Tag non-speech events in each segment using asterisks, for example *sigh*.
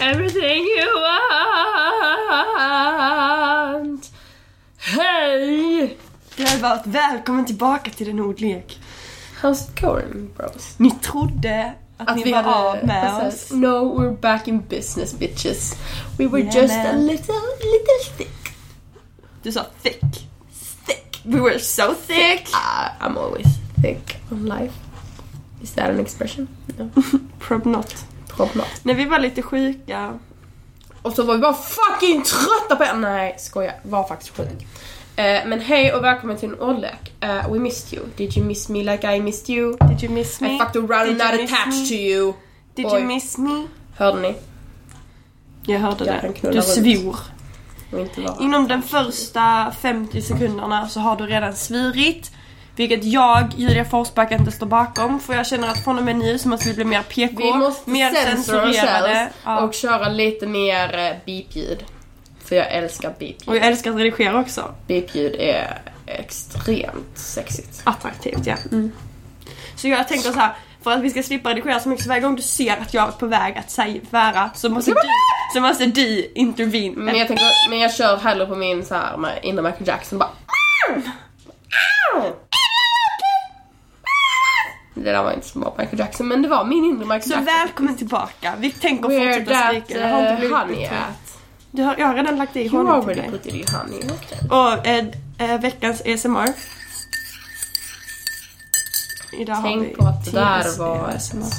everything you want. Hej! Det hade varit välkommen tillbaka till en ordlek. How's it going bros? Ni trodde att, ni var av med oss. alltså, No, we're back in business bitches. We were Yeah, just a man. little, little thick. Du sa thick. Thick. We were so thick. Ah, I'm always thick on life. Is that an expression? No. Prob not. Prob not. När vi var lite sjuka. Och så var vi bara fucking trötta på en. Nej, skoja. Var faktiskt sjuk. Eh, men hej och välkommen till en ordlek. Eh, we missed you. Did you miss me like I missed you? Did you miss me? I fucked around and Did not you miss attached me? to you. Did Oj. you miss me? Hörde ni? Jag hörde Ja, den det. knullar Du runt. svor. Och inte var. Inom den första 50 sekunderna så har du redan svurit. Vilket jag, Julia Forsback, inte står bakom. För jag känner att från och med nu så måste vi bli mer PK. Vi måste mer censor ourselves Ja. och köra lite mer eh, beep-ljud. För jag älskar Och beep-ljud. jag älskar att redigera också. Beep-ljud är extremt sexigt. Attraktivt, ja. Mm. Så jag tänker så här. För att vi ska slippa redigera så mycket så varje gång du ser att jag är på väg att säga svära så måste du, så måste du intervene. Men jag, tänker, men jag kör hellre på min så här med innan Michael Jackson bara... Det där var inte så bra Michael Jackson men det var min inre Michael Så Jackson. välkommen tillbaka. Vi tänker Where fortsätta that skrika. Det har inte uh, blivit honey bättre. at. Du har, jag har redan lagt i You honom till already dig. put it in honey. Okay. Och eh, eh, veckans ASMR. Idag har vi E Tänk på att det där TS var ASMR. ett...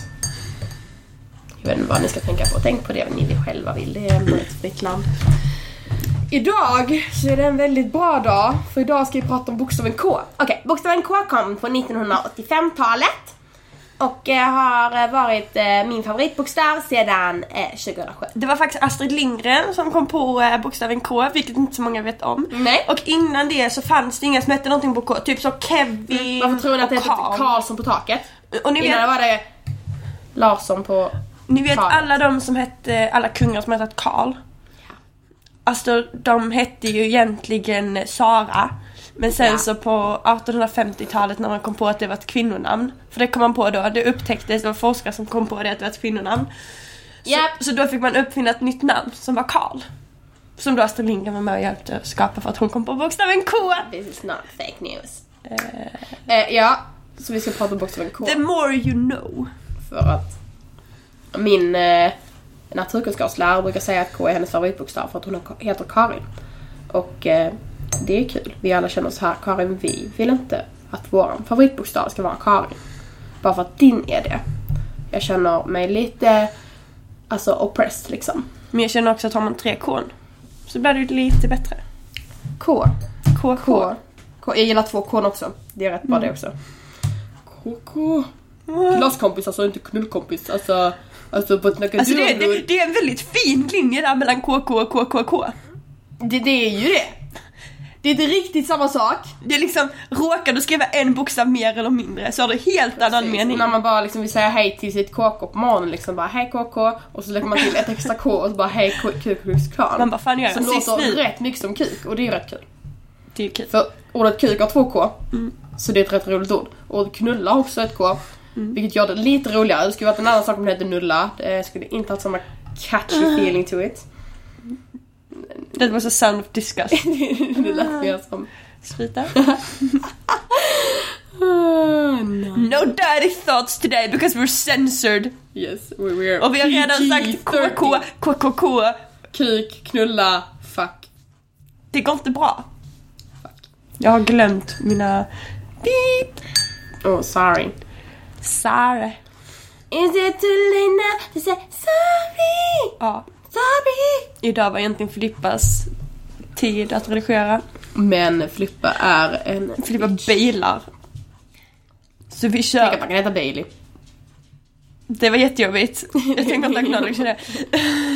Jag vet inte vad ni ska tänka på. Tänk på det ni vill själva vill. Det är ändå ett fritt land. Idag så är det en väldigt bra dag. För idag ska vi prata om bokstaven K. Okej, bokstaven K kom på 1985-talet. Och eh, har eh, varit eh, min favoritbokstav sedan eh, 2007. Det var faktiskt Astrid Lindgren som kom på eh, bokstaven K, vilket inte så många vet om. Nej. Och innan det så fanns det inga som hette någonting på K, typ som Kevin Mm, Varför tror ni att det och heter Karlsson på taket? Och ni Innan vet, var det Larsson på... ni vet Karl. alla de som hette, alla kungar som hette Karl. Alltså de hette ju egentligen Sara. Men sen Ja. så på 1850-talet när man kom på att det var ett kvinnonamn. För det kom man på då, det upptäcktes, det var forskare som kom på det att det var ett kvinnonamn. Så, Japp. så då fick man uppfinna ett nytt namn som var Karl. Som då Astrid Lindgren var med och hjälpte att skapa för att hon kom på bokstaven K. This is not fake news. Eh, ja, så vi ska prata om bokstaven K. The more you know. För att min eh, naturkunskapslärare brukar säga att K är hennes favoritbokstav för att hon har- heter Karin. Och eh, det är kul. Vi alla känner så här, Karin vi vill inte att vår favoritbokstav ska vara Karin. Bara för att din är det. Jag känner mig lite, alltså oppressed liksom. Men jag känner också att har man tre K så blir det ju lite bättre. K. K, K. Mm. K. K. Jag gillar två K också. Det är rätt bra det också. KK. Klasskompis, alltså inte knullkompis. Alltså, alltså på ett snacka Alltså det, du- det, det är en väldigt fin linje där mellan KK och KKK. Det, det är ju det. Det är inte riktigt samma sak. Det är liksom, råkar du skriva en bokstav mer eller mindre så har du helt annan mening. När man bara liksom vill säga hej till sitt KK på morgonen liksom bara hej KK och så lägger man till ett extra K och så bara hej Ku- Ku Klux Klan. Man bara, fan, jag är Som rasist låter nu. rätt mycket som kuk och det är ju rätt kul. Det är ju kul. För ordet kuk har två K. Mm. Så det är ett rätt roligt ord. Ordet knulla har också ett K. Mm. Vilket gör det lite roligare. Det skulle varit en annan sak om det hette nulla. Det skulle inte haft samma catchy Mm. feeling to it. *laughs* Det var så sound of disgust. det Mm. lät mer som... Slita. no. No dirty thoughts today because we're censored. Yes, we were Och vi har redan sagt PG-13. KK, KKK. Kuk, knulla, fuck. Det går inte bra. Jag har glömt mina... Beep! Oh, sorry. Sorry. Is it too late now to say sorry? Ja, Sorry! idag var egentligen Filippas tid att redigera. Men Flippa är en... Filippa bilar. Så vi kör. Tänk att man kan heta Bailey. Det var jättejobbigt. Jag tänker inte acknowledge det. *laughs*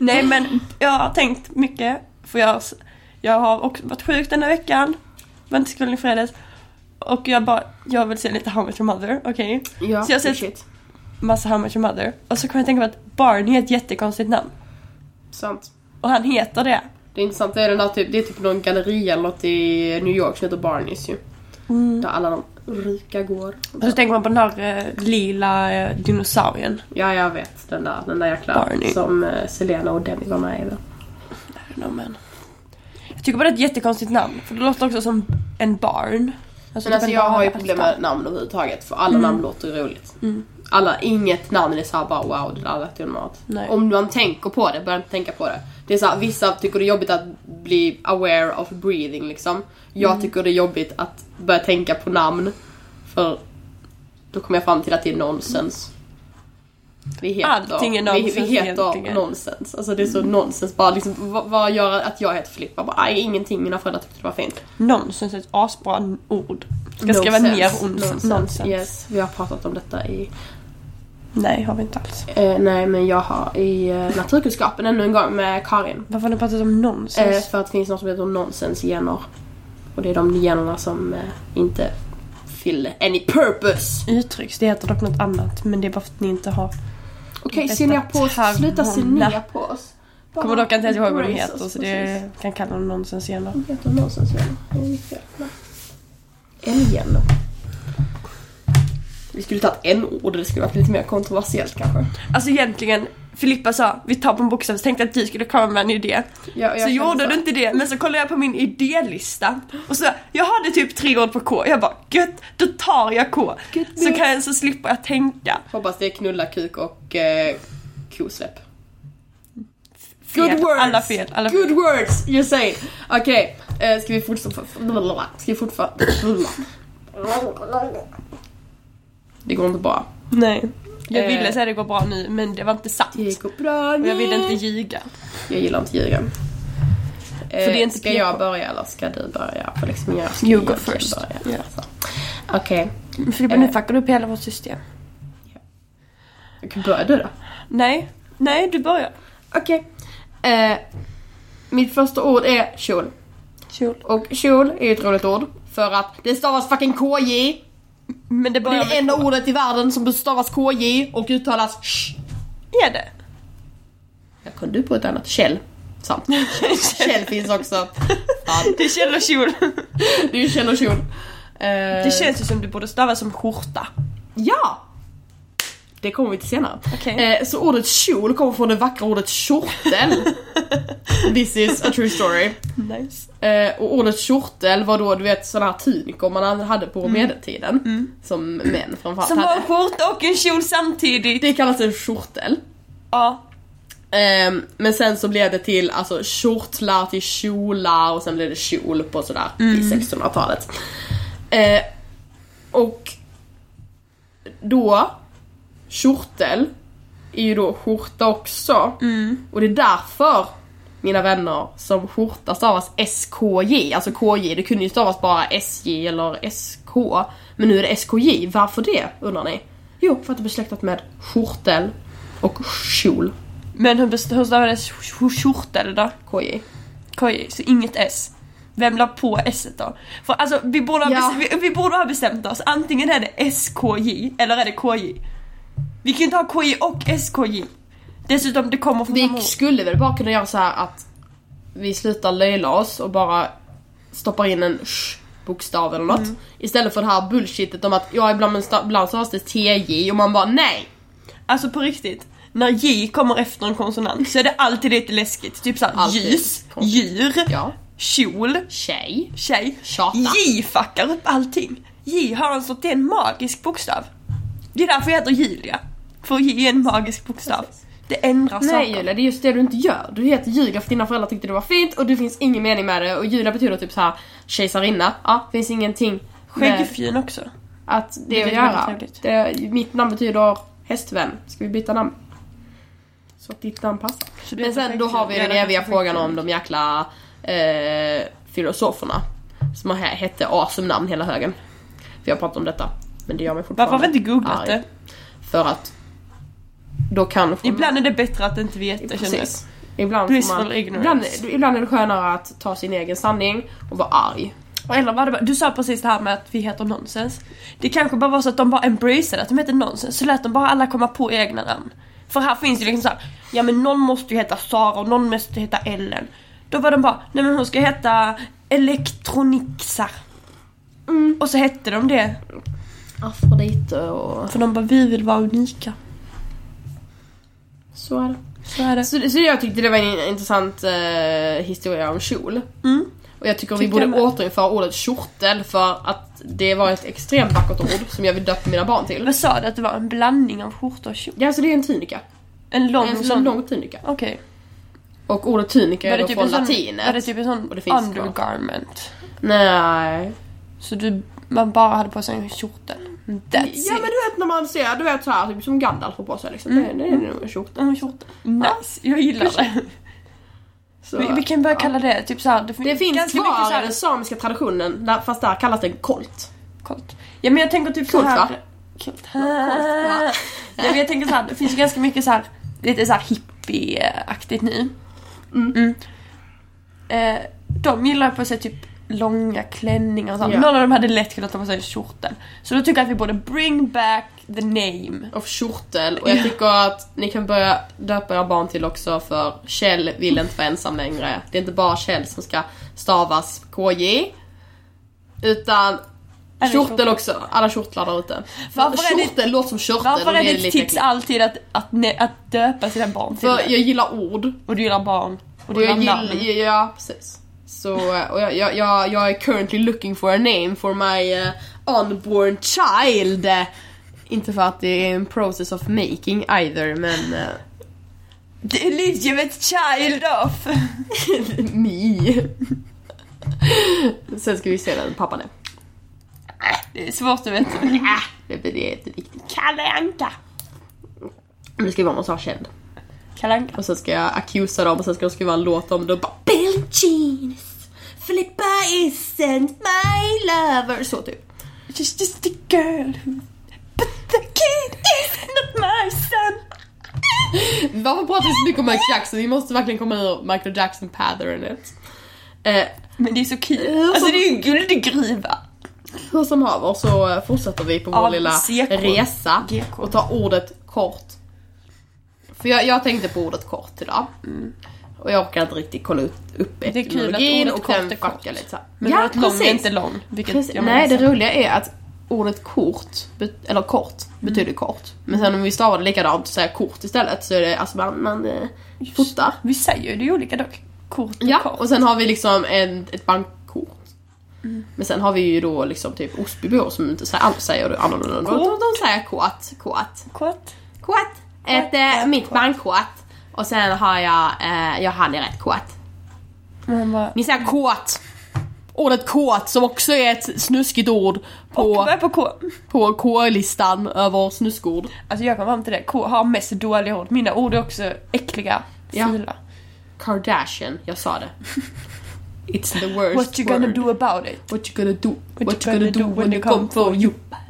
Nej men jag har tänkt mycket. För jag, jag har också varit sjuk denna veckan. Var inte skolan i fredags. Och jag bara, jag vill se lite How Much Your Mother, okej? Ja, så jag har sett shit. massa How Much Your Mother. Och så kom jag att tänka på att Barney är ett jättekonstigt namn. Sant. Och han heter det. Det intressanta är den där typ, det är typ någon galleria eller något i New York som heter Barneys ju. Där alla de Rika går. Och så tänker man på den här eh, lila eh, dinosaurien. Ja, jag vet. Den där, den där jäkla Barney. som eh, Selena och Demi var med i. va? I don't know, man. Jag tycker bara det är ett jättekonstigt namn. För det låter också som en barn. Men typ alltså en jag barn har ju med problem Pakistan. med namn överhuvudtaget för alla Mm. namn låter ju roligt. Alla, inget namn är såhär bara wow det där lät ju normalt. Nej. Om man tänker på det, börjar inte tänka på det. Det är såhär, vissa tycker det är jobbigt att bli aware of breathing liksom. Jag Mm. tycker det är jobbigt att börja tänka på namn. För då kommer jag fram till att det är nonsens. Vi heter, Allting är nonsens vi, vi heter egentligen. Mm. nonsens. Alltså det är så nonsens bara liksom, vad, vad gör att jag heter Filippa? Bara, aj, ingenting, mina föräldrar tyckte det var fint. Nonsens är ett asbra ord. Ska jag skriva Nonsens. ner ons- nonsens. Yes, vi har pratat om detta i... Nej, har vi inte alls. Eh, nej, men jag har i eh, naturkunskapen ännu en gång med Karin. Varför har ni pratat om nonsens? Eh, för att det finns något som heter nonsensgener. Och det är de generna som eh, inte fyller any purpose. Uttrycks, det heter dock något annat. Men det är bara för att ni inte har... Okej, Detta se ner på oss. termerna. Sluta se ner på oss. Bara Kommer dock inte ens ihåg vad de embrace heter oss, så det precis. kan kalla dem nonsens igen. De heter nonsensgener. Det är mitt fel. Nej. Älggener. Vi skulle tagit en ord det skulle varit lite mer kontroversiellt kanske. Alltså egentligen, Filippa sa vi tar på en bokstav så tänkte jag att du skulle komma med en idé. Jag- jag så kände gjorde så. du inte det, men så kollade jag på min idélista och så, jag hade typ tre ord på K. Jag bara gött, då tar jag K. Gött Så, med- kan jag, så slipper jag tänka. Hoppas det är knulla, kuk och eh, kosläpp. Fel. Alla fel. Alla Good words, you say. Okej, eh, ska vi fortsätta? Ska vi fortfarande... Det går inte bra. Nej. Jag ville Eh. säga det går bra nu, men det var inte sant. Det går bra Och jag ville inte ljuga. Jag gillar inte ljugen. det är inte ska PK. jag börja eller ska du börja? För liksom jag ska You go egentligen first. börja. Ja. Så. Okej. Filippa, nu fuckar du upp hela vårt system. Okay. Börja du då. Nej, nej du börjar. Okej. Eh, mitt första ord är kjol. Kjol. Och kjol är ju ett roligt ord. För att det stavas fucking KJ. Men det Det börjar är det enda K. ordet i världen som stavas KJ och uttalas sh. Är det? Jag kom du på ett annat? Kjell. *laughs* Sant. Kjell finns också. Fan. Det är Kjell *laughs* och kjol. Det är ju Kjell och kjol. Eh, Det känns ju som du borde stava som skjorta. Ja! Det kommer vi till senare. Okej. Eh, så ordet kjol kommer från det vackra ordet kjortel. This is a true story. Nice. Eh, och ordet kjortel var då du vet sådana här tunikor man hade på medeltiden. Som män framförallt Mm. Som var hade. en skjorta och en kjol samtidigt. Det kallas en kjortel. Ja. Ehm, men sen så blev det till alltså kjortlar till kjolar och sen blev det kjol på sådär i 1600-talet. Eh, och då, kjortel är ju då skjorta också. Och det är därför, mina vänner, som skjorta stavas SKJ. Alltså KJ, det kunde ju stavas bara SJ eller SK. Men nu är det SKJ, varför det undrar ni? Jo, för att det är besläktat med skjortel och kjol. Men hur best- hur stavades skjortel då? KJ. KJ, så inget S. Vem la på S då? För alltså vi borde, ha Ja. bes- vi, vi borde ha bestämt oss, antingen är det SKJ eller är det KJ. Vi kan ju inte ha KJ och SKJ. Dessutom det kommer från samma Vi ord. skulle väl bara kunna göra så här att vi slutar löjla oss och bara stoppar in en sh bokstav eller något. Istället för det här bullshitet om att ja, ibland, men sta- ibland så har det TJ och man bara nej. Alltså på riktigt. När J kommer efter en konsonant så är det alltid lite läskigt. Typ såhär Alltid. ljus, djur, Ja, kjol, tjej. tjej. Tjata. J fuckar upp allting. J har alltså, det är en magisk bokstav. Det är därför jag heter Julia. För J är en magisk bokstav. Det ändrar Nej saker. Julia, det är just det du inte gör. Du heter Julia för dina föräldrar tyckte det var fint och det finns ingen mening med det. Och Julia betyder typ så här kejsarinna. Ja, finns ingenting med Skäggfin också. att det Vilket att är göra. väldigt trevligt. Det, mitt namn betyder hästvän. Ska vi byta namn? Så att ditt namn passar. Så du Men heter sen då skäggfin. har vi Ja, den det heter eviga skäggfin. frågan om de jäkla eh, filosoferna. Som har- hette awesome namn hela högen. Vi har pratat om detta. Men det gör mig Varför fortfarande har vi inte googlat arg. det? För att då kan... Ibland är det bättre att inte veta känner jag. Precis. Ibland, får man, Blissful ibland, ignorance. ibland är det skönare att ta sin egen sanning och vara arg. Och Eller var det bara, du sa precis det här med att vi heter nonsens. Det kanske bara var så att de bara embraceade att de heter nonsens, så lät de bara alla komma på egna namn. För här finns ju liksom såhär, ja men någon måste ju heta Sara och någon måste heta Ellen. Då var de bara, nej men hon ska heta Elektroniksa. Mm. Och så hette de det. Afrodite och... För de bara, vi vill vara unika. Så är det. Så är det. Så, så jag tyckte det var en intressant eh, historia om kjol. Mm. Och jag tycker vi Tycker borde jag med. återinföra ordet kjortel för att det var ett extremt vackert ord som jag vill döpa mina barn till. Vad sa du att det var? En blandning av skjorta och kjol? Ja, alltså det är en tunika. En lång En sån sån? lång tunika. Okej. Och ordet tunika Var är det då typ från en sån- latinet. Var det typ en sån Och det finns undergarment? Nej. Så du, man bara hade på sig en kjortel? That's Ja men it. du vet när man ser, du vet såhär typ som Gandalf har på sig liksom. Mm. Det, det är nog en kjortel. En kjortel. Nice, jag gillar det. Så- Vi, vi kan börja kalla det typ såhär... Det finns ganska mycket kvar i såhär- den samiska traditionen, där, fast där kallas den kolt. Coolt. Ja men jag tänker typ Coolt, såhär... va? Coolt va? va? Nej men jag tänker såhär, det finns ju ganska mycket såhär lite såhär hippie-aktigt nu. Mm. Eh, de gillar på sig typ långa klänningar och sånt. Ja. Någon av dem hade lätt kunnat ta på sig en kjortel. Så då tycker jag att vi borde bring back the name. Och kjortel. Och jag tycker att ni kan börja döpa era barn till också för Kjell vill inte vara ensam längre. Det är inte bara Kjell som ska stavas KJ. Utan Eller kjortel också. Alla kjortlar där ute. Varför är det- Kjortel låter som körtel och Varför det är är ditt lite tips äckligt. alltid att, att, ne- att döpa sina barn till För det? jag gillar ord. Och du gillar barn. Och du Och jag gillar namn. gillar, ja precis. Så, och jag, jag, jag, jag är currently looking for a name for my eh, unborn child. Inte för att det är en process of making either men... eh, The illegitimate child of... Mi. Sen ska vi se vem pappan är. *laughs* Det är svårt att veta. Det blir det är inte viktigt. Kalle Anka. Men det ska vara någon som är känd. Kalle Anka. Och sen ska jag accusa dem och sen ska de skriva en låt om det och bara Billie Jeans, Filippa isn't my lover. Så typ. She's just a girl who... But the kid is not my son. Varför pratar vi så mycket om Michael Jackson? Vi måste verkligen komma ur Michael Jackson patternet. Eh, Men det är så kul. Hur Alltså som- det är ju en guldgruva. hur som haver så eh, fortsätter vi på vår Ja, lilla seko. resa Geko. och tar ordet kort. För jag, jag tänkte på ordet kort idag. Och jag orkar inte riktigt kolla ut, upp Mm. är kul att etymologin ordet och kort den är kort. fuckar lite så här. Men ja, ordet lång är precis. inte lång. Vilket Precis. jag Nej, menar det sen. roliga är att ordet kort, bet- eller kort, Mm. betyder kort. Men sen om vi stavar det likadant och säger kort istället så är det alltså man, man eh, fotar. Vi säger ju det är olika dock. Kort och Ja, kort. och sen har vi liksom en, ett bankkort. Mm. Men sen har vi ju då liksom typ Osbybor som inte säger, alls säger det annorlunda. De, de, de säger kort, kort, Kort. kort. Ett, eh, mitt bankkort. Och sen har jag, eh, jag han är rätt kort. Men han bara... Ni säger kåt. Ordet kåt som också är ett snuskigt ord Och på, börja på K. på K-listan över snuskord. Alltså jag kom fram till det. K har mest dåliga ord. Mina ord är också äckliga. Ja. Fula. Kardashian, jag sa *laughs* det. It's the worst What you gonna word. do about *laughs* it? What you gonna do? What, you gonna, do when they come for you? Bad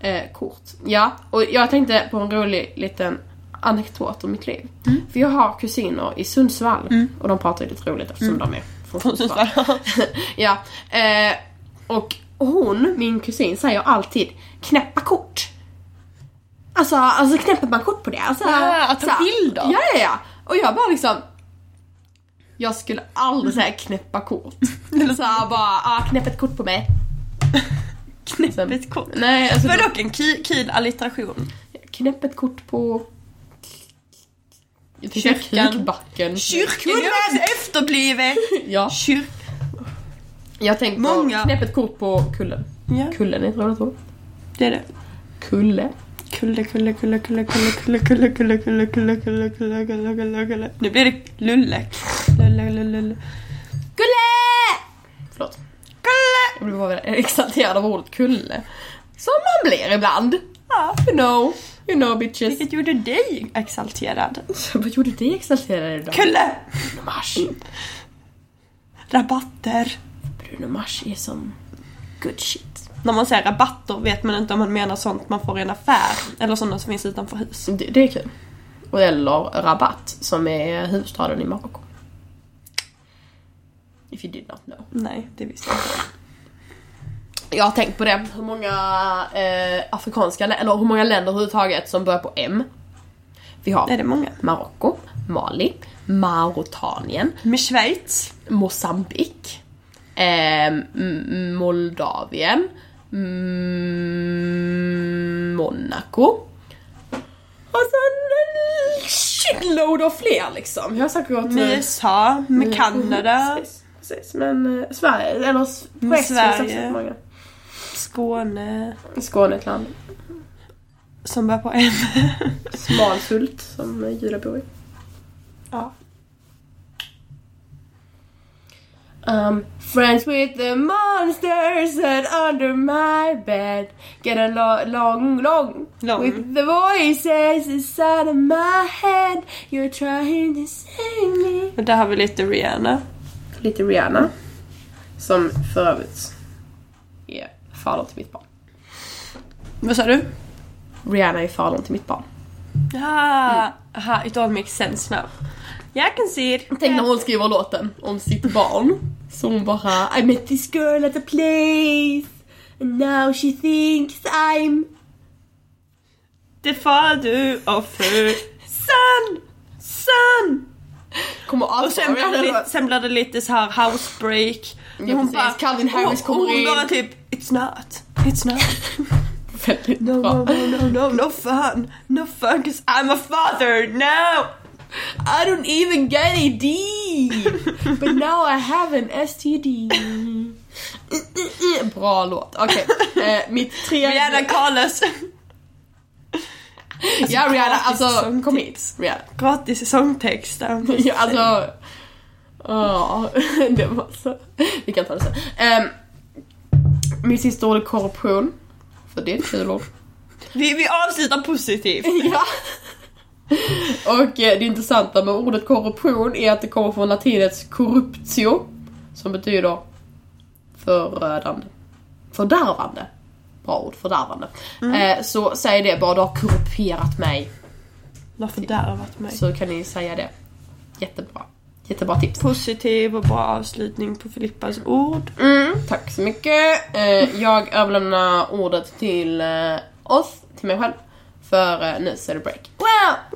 boys. Eh, kort. Ja, och jag tänkte på en rolig liten anekdot om mitt liv. För jag har kusiner i Sundsvall och de pratar ju lite roligt eftersom de är från Mm. Sundsvall. ja, eh, och hon, min kusin, säger alltid knäppa kort. Alltså, alltså knäpper man kort på det? Alltså, Ja, att ta så här- bild då? Ja, ja, ja. Och jag bara liksom jag skulle aldrig säga knäppa kort. Eller såhär bara, ah, knäpp ett kort på mig. Sen- Ett kort. Nej, alltså Det var dock en kul, kul allitteration. knäpp ett kort på... Jag tänkte Kyrkan. Kyrkbacken. Kyrkan är också efterblivet. Ja, Kyrk... jag tänkte på Många. knäpp ett kort på kullen. Ja, Kullen är ett roligt ord. det är det. Kulle. Kulle, kulle, kulle, kulle, kulle, kulle, kulle, kulle, kulle, kulle, kulle, kulle, kulle, kulle, kulle. Nu blir det lulle. Lulle, lulle, lulle. Kulle! Förlåt. Kulle! Jag blev bara väldigt exalterad av ordet kulle. Som man blir ibland. Ja, You know, you know bitches. vilket gjorde dig exalterad. Vad gjorde dig exalterad idag? Kulle! Bruno Mars. Rabatter. Bruno Mars är som good shit. När man säger rabatter vet man inte om man menar sånt man får i en affär eller sådana som finns utanför hus. Det, det är kul. Och Eller Rabat som är huvudstaden i Marocko. If you did not know. Nej, det visste jag inte. Jag har tänkt på det, hur många eh, afrikanska lä- eller hur många länder överhuvudtaget som börjar på M. Vi Är har det många? Marocko, Mali, Mauretanien, Med Schweiz. Mosambik, Eh, M- Moldavien. Mm, Monaco. Och så en shitload av fler liksom. Jag har säkert gått... Med USA, med Kanada, Precis, precis. Men eh, Sverige, eller s- på Mm, S finns också Sverige. många. Skåne, Skåne är ett land. som börjar på M. Smalsult som eh, Julia bor i. ja. Um, friends with the monsters and under my bed Get a lo- long, long, Long. With the voices inside of my head You're trying to save me Men där har vi lite Rihanna. Lite Rihanna Som för övrigt är fadern till mitt barn Vad sa du? Rihanna är fadern till mitt barn Ah, aha, it all makes sense now. Jag kan se it. Tänk när hon skriver låten om sitt barn. Så hon bara I met this girl at a place And now she thinks I'm The father of her son! Son! Kommer Och sen blir, det lite, sen blir det lite så här housebreak. Ja, precis. Calvin Harris och, och kommer hon in. bara typ It's not, it's not. väldigt No, bra. no, no, no, no, no fun. No fun cause I'm a father, no! I don't even get a *laughs* D! But now I have an STD. Mm, Bra låt. *laughs* Okej, eh, mitt Rihanna tredje... Carlos. Ja, Rihanna, alltså Gratis kom hit. sångtips. Rihanna. Gratis sångtexter. *laughs* Ja, alltså... Ja, *laughs* det var så... Vi kan ta det sen. Um, mitt sista ord är korruption. För det är ett kul ord. Vi, vi avslutar positivt. *laughs* Ja. Och eh, det intressanta med ordet korruption är att det kommer från latinets corruptio. Som betyder förödande. Fördärvande. Bra ord, fördärvande. Eh, så säg det bara, du har korrumperat mig. Du har fördärvat mig. Så kan ni säga det. Jättebra. Jättebra tips. Positiv och bra avslutning på Filippas ord. Mm, tack så mycket. Eh, jag överlämnar ordet till eh, oss, till mig själv. För eh, nu så är det break. Wow!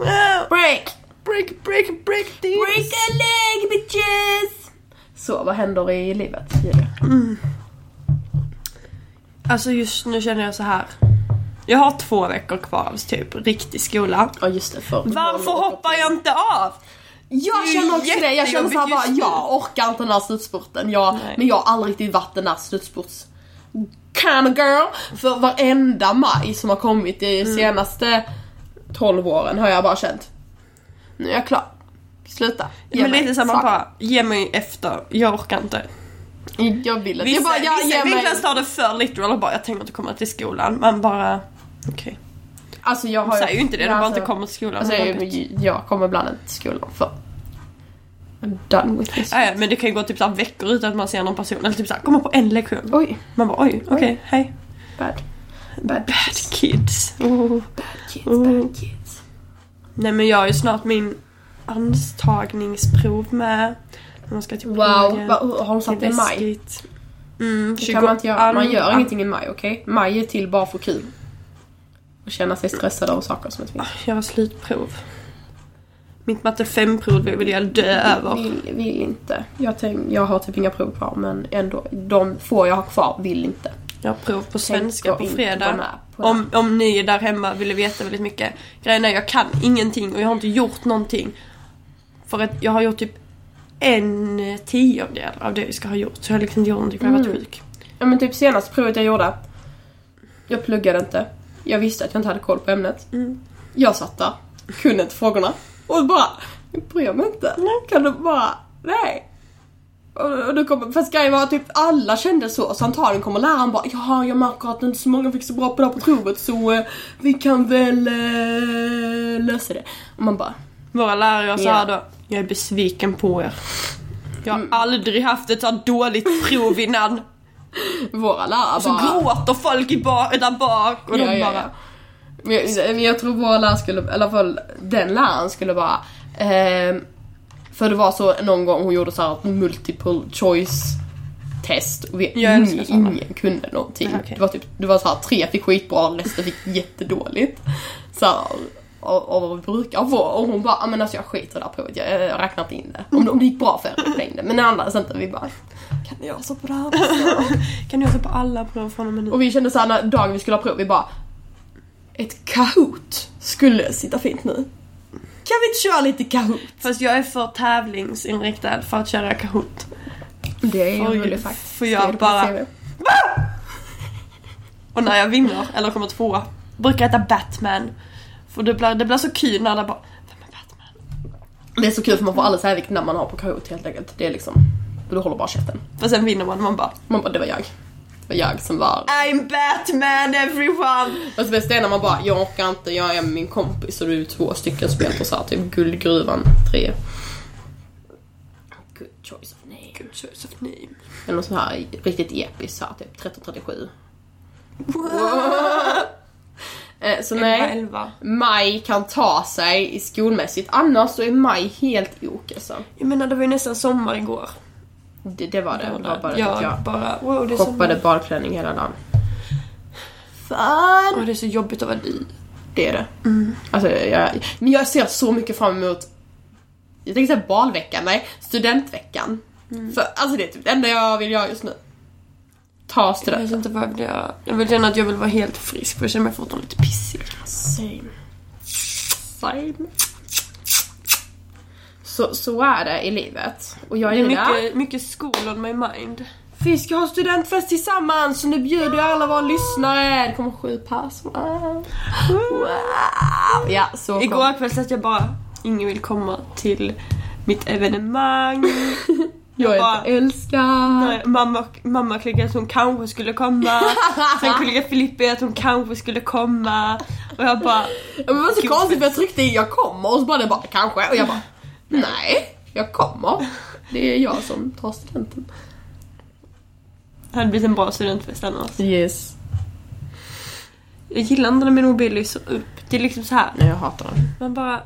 Wow. Break! Break, break, break this! Break a leg bitches! Så, vad händer i livet, Julia? Alltså just nu känner jag så här. Jag har två veckor kvar av typ riktig skola. Ja, just det. För Varför hoppar jag inte av? Jag Det är ju känner också det. Jag känner såhär bara, jättejobbigt just jag orkar inte den här slutspurten. Jag, Nej. men jag har aldrig riktigt varit den här slutspurts kind of girl. För varenda maj som har kommit de Mm. senaste 12 åren har jag bara känt, nu är jag klar. Sluta. Ge Men mig lite samma saker. bara, ge mig efter, jag orkar inte. Jag vill inte. Vissa, Jag bara, jag vissa ger mig. vinklar står det för literal och bara jag tänker inte komma till skolan. Man bara, okej. Alltså jag De har säger ju inte det, de bara alltså- inte kommer till skolan. Alltså, Man bara, jag, jag kommer ibland inte till skolan för I'm done with this. ja, ja, men det kan ju gå typ så här veckor utan att man ser någon person. Eller typ såhär, komma på en lektion. Oj, Man bara oj, okej, Oj. hej. bad. Bad Bad kids. Oh. kids, Oh. bad kids. Nej men jag har ju snart min antagningsprov med. När Man ska till Wow, pluggen. va- har de satt det i maj? Läskigt. Mm, Det kan man inte göra. Man 22. gör ingenting i maj, okej? Maj är till bara för kul. Och känna sig stressad av saker som inte finns. Jag har slutprov. Mitt matte 5-prov vill jag dö Ah, över. Vill, vill inte. Jag, tänk, jag har typ inga prov kvar men ändå, de få jag har kvar vill inte. Jag har prov på svenska jag på inte vara med fredag. på det. Om, om ni där hemma ville veta väldigt mycket. Grejen är jag kan ingenting och jag har inte gjort någonting. För att jag har gjort typ en tiondel av det jag ska ha gjort. Så jag har liksom inte gjort någonting för jag har varit Mm. sjuk. Ja men typ senaste provet jag gjorde. Jag pluggade inte. Jag visste att jag inte hade koll på ämnet. Mm. Jag satt där, kunde inte frågorna. Och bara, jag bryr mig inte. Kan du bara, nej. Och, och du kommer, fast grejen var att typ alla kände så. Så antagligen kommer läraren bara, jaha jag märker att inte så många fick så bra på det här på provet så eh, vi kan väl eh, lösa det. Och man bara, Våra lärare sa Ja. Mm. då, jag är besviken på er. Jag har aldrig haft ett så här dåligt *laughs* prov innan. våra lärare Så bara. gråter folk i bar, där bak och Ja, de ja, bara... ja. Men jag, men jag tror vår lärare skulle, i alla fall den läraren skulle bara... ehm, för det var så någon gång hon gjorde så här ett multiple choice test och vi, Jag älskar ingen, såna. ingen kunde någonting. Nej, okej. Det var typ det var så här tre fick skitbra, resten fick jättedåligt. Så här, av, av vad vi brukar få. Och hon bara, "Ja, men alltså jag skiter i det här provet, jag, jag räknar inte in det. Om, om det gick bra för er räknade jag in det. Men annars inte. Vi bara, kan ni göra så på det här? Kan du göra så på alla prov från och med nu? Och vi kände såhär när dagen vi skulle ha prov, vi bara Ett Kahoot skulle sitta fint nu. Kan vi inte köra lite Kahoot? Fast jag är för tävlingsinriktad för att köra Kahoot. Det Oj, får jag bara- Och när jag vinner, eller kommer tvåa, brukar jag heta Batman. För det blir, det blir så kul när alla bara Vem är Batman? Det är så kul för man får aldrig säga vilket namn man har på Kahoot helt enkelt. Det är liksom, du håller bara käften. För sen vinner man och man bara Man bara, det var jag. Det var jag som var... I'm Batman everyone! Och så bäst är när man bara, jag orkar inte, jag är med min kompis och du är två stycken som heter såhär typ Guldgruvan 3. Good choice of name. Good choice of name. Eller något sånt här riktigt episkt såhär typ 1337. Eh, så Elva, nej. elva. Maj kan ta sig i skolmässigt, annars så är Maj helt ok alltså. Jag menar det var ju nästan sommar igår. Det, det var det, det var bara det jag att jag bara wow det är shoppade sommar. badklänning hela dagen. Fan! Och det är så jobbigt att vara i. Det är det. Mm. Alltså, jag, men jag ser så mycket fram emot, jag tänkte säga balveckan, nej, studentveckan. Mm. För alltså det är typ det enda jag vill göra just nu. Ta Jag vet studenten. inte vad jag vill göra. Jag vill känna att jag vill vara helt frisk för jag känner mig fortfarande lite pissig. Same. Same. Så, så är det i livet. Och jag Det är är där. mycket, mycket school on my mind. Vi ska ha studentfest tillsammans så nu bjuder jag alla våra lyssnare. Det kommer sju personer. Wow. Ja, så kom. Igår kväll satt jag bara, ingen vill komma till mitt *laughs* evenemang. jag är bara- inte älskad. Nej, mamma, mamma klickade att hon kanske *laughs* skulle komma. Sen klickade Filippi att hon kanske skulle komma. Och jag bara, Ja, Men det var så konstigt för jag tryckte i jag kommer och så bara det bara kanske och jag bara nej, jag kommer. Det är jag som tar studenten. det hade blivit en bra studentfest annars. Yes. Jag gillar inte när min mobil lyser upp. Det är liksom så här. Nej jag hatar den. man bara,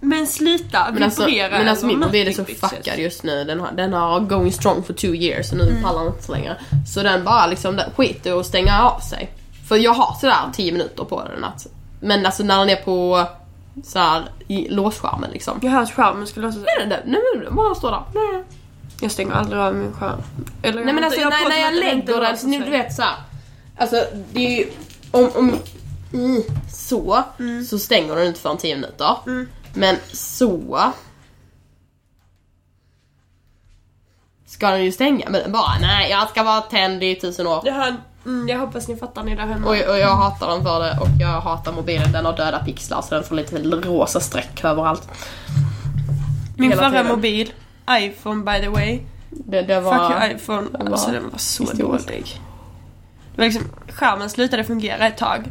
men slita, Men alltså, vibrera. men alltså min över mobil är så natten, bitches. fuckad just nu. Den har, den har going strong for two years och nu pallar den inte så länge. Så den bara liksom den skiter och stänger av sig. För jag har sådär 10 minuter på den att men alltså när den är på såhär i låsskärmen liksom. Jag hör att skärmen skulle låta så. Nej, nej, nej, nej, den bara står där. Nej. Jag stänger aldrig av min skärm. Eller jag Nej men vet alltså inte, när, när pratar om jag att den inte lägger var den, så så nu säker. du vet såhär. Alltså det är ju, om, om i så, Mm. så stänger den inte förrän 10 minuter. Men så ska den ju stänga. Men den bara nej jag ska vara tänd i tusen år. Det här, mm, jag hoppas ni fattar ni där hemma. Och, och jag hatar den för det och jag hatar mobilen, den har döda pixlar så den får lite rosa streck överallt. Min hela förra tiden. mobil, iPhone by the way. Det, det var... Fuck your iPhone. alltså den var så historiskt. dålig. Det var liksom, skärmen slutade fungera ett tag.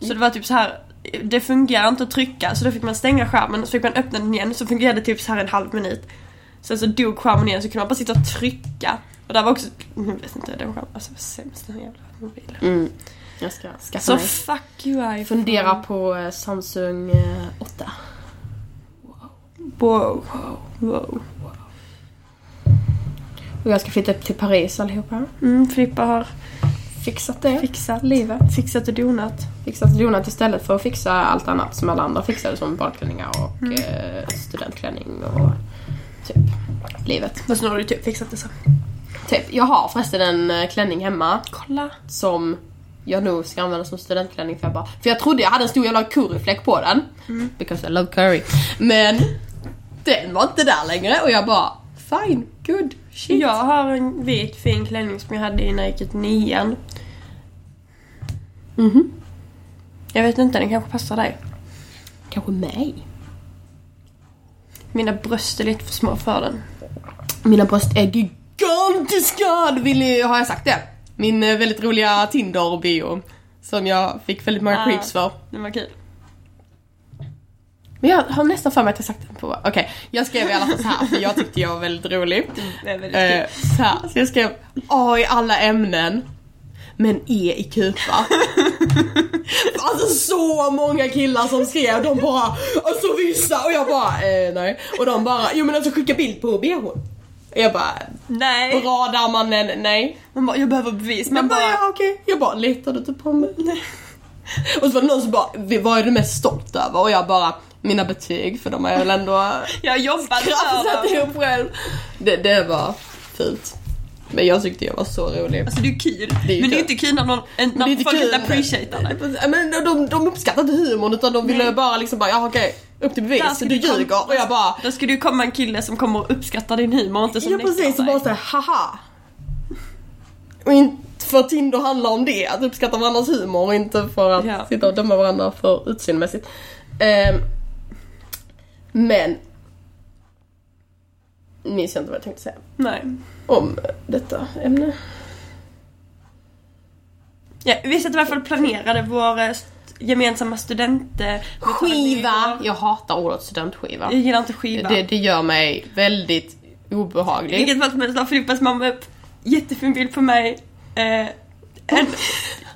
Så det var typ så här. Det fungerar inte att trycka så då fick man stänga skärmen och så fick man öppna den igen så fungerade det typ så här en halv minut. Sen så dog skärmen igen så kunde man bara sitta och trycka. Och där var också, jag vet inte, den skärmen, alltså det var sämst den här jävla mobilen. Mm. Jag ska skaffa Så mig. fuck you iPhone. Fundera på eh, Samsung eh, 8. Wow, wow, wow. Och jag ska flytta till Paris allihopa. Mm, Filippa har Fixat det. fixat livet. Fixat och donat. Fixat donat istället för att fixa allt annat som alla andra fixade som badklänningar och eh, studentklänning och typ livet. Fast nu har du typ fixat det så. Typ, jag har förresten en eh, klänning hemma Kolla. som jag nog ska använda som studentklänning för jag bara, För jag trodde jag hade en stor jävla curryfläck på den. Because I love curry. Men den var inte där längre och jag bara fine, good, shit. Jag har en vit fin klänning som jag hade innan jag gick ut nian. Mhm. Jag vet inte, den kanske passar dig. Kanske mig. Mina bröst är lite för små för den. Mina bröst är gigantiska! det Vill ni, har jag sagt det? Min eh, väldigt roliga Tinder-bio. Som jag fick väldigt många Ah. creeps för. Den var kul. Men jag har nästan för mig att jag sagt den på... Okej, jag skrev i alla fall så här för jag tyckte jag var väldigt rolig. Den är väldigt Eh, kul. så, här, så jag skrev A i alla ämnen. Men E i kupa. *laughs* alltså så många killar som skrev, de bara Alltså vissa och jag bara eh, nej. Och de bara, jo men alltså skicka bild på bhn. Jag bara Nej! Bra där mannen, nej. Man bara, jag behöver bevis. Man Jag bara, bara, ja, okej. Jag bara, typ *laughs* litar du inte på mig? Och så var det någon som bara, "Vi- vad är du mest stolt över? Och jag bara, mina betyg för de har jag väl ändå Jag jobbar *laughs* för krafsat dem. ihop själv. Det, det var fult. Men jag tyckte jag var så rolig. Alltså det är ju kul. Det är ju men det är kul. inte kul när, någon, Men en, det är när inte folk kul. inte appreciatear det. Ja, Men de- de, de uppskattade inte humorn utan de ville Nej. bara liksom bara, ja okej, upp till Där bevis. ska Du du kom- ljuger. Och jag bara, Då skulle ju komma en kille som kommer att uppskatta din humor inte som ja nektar precis, och dig. bara såhär haha. Och inte för att Tinder handlar om det, att uppskatta varandras humor och inte för att Ja. sitta och döma varandra för utseendemässigt. Ehm, men... Minns jag inte vad jag tänkte säga Nej. om detta ämne. Ja, vi satt i alla fall och planerade vår eh, st- gemensamma student... eh, Skiva! Jag hatar ordet studentskiva. Jag gillar inte skiva. Det, det gör mig väldigt *laughs* I obehaglig. vilket fall som helst la Filippas mamma upp jättefin bild på mig. Eh, en,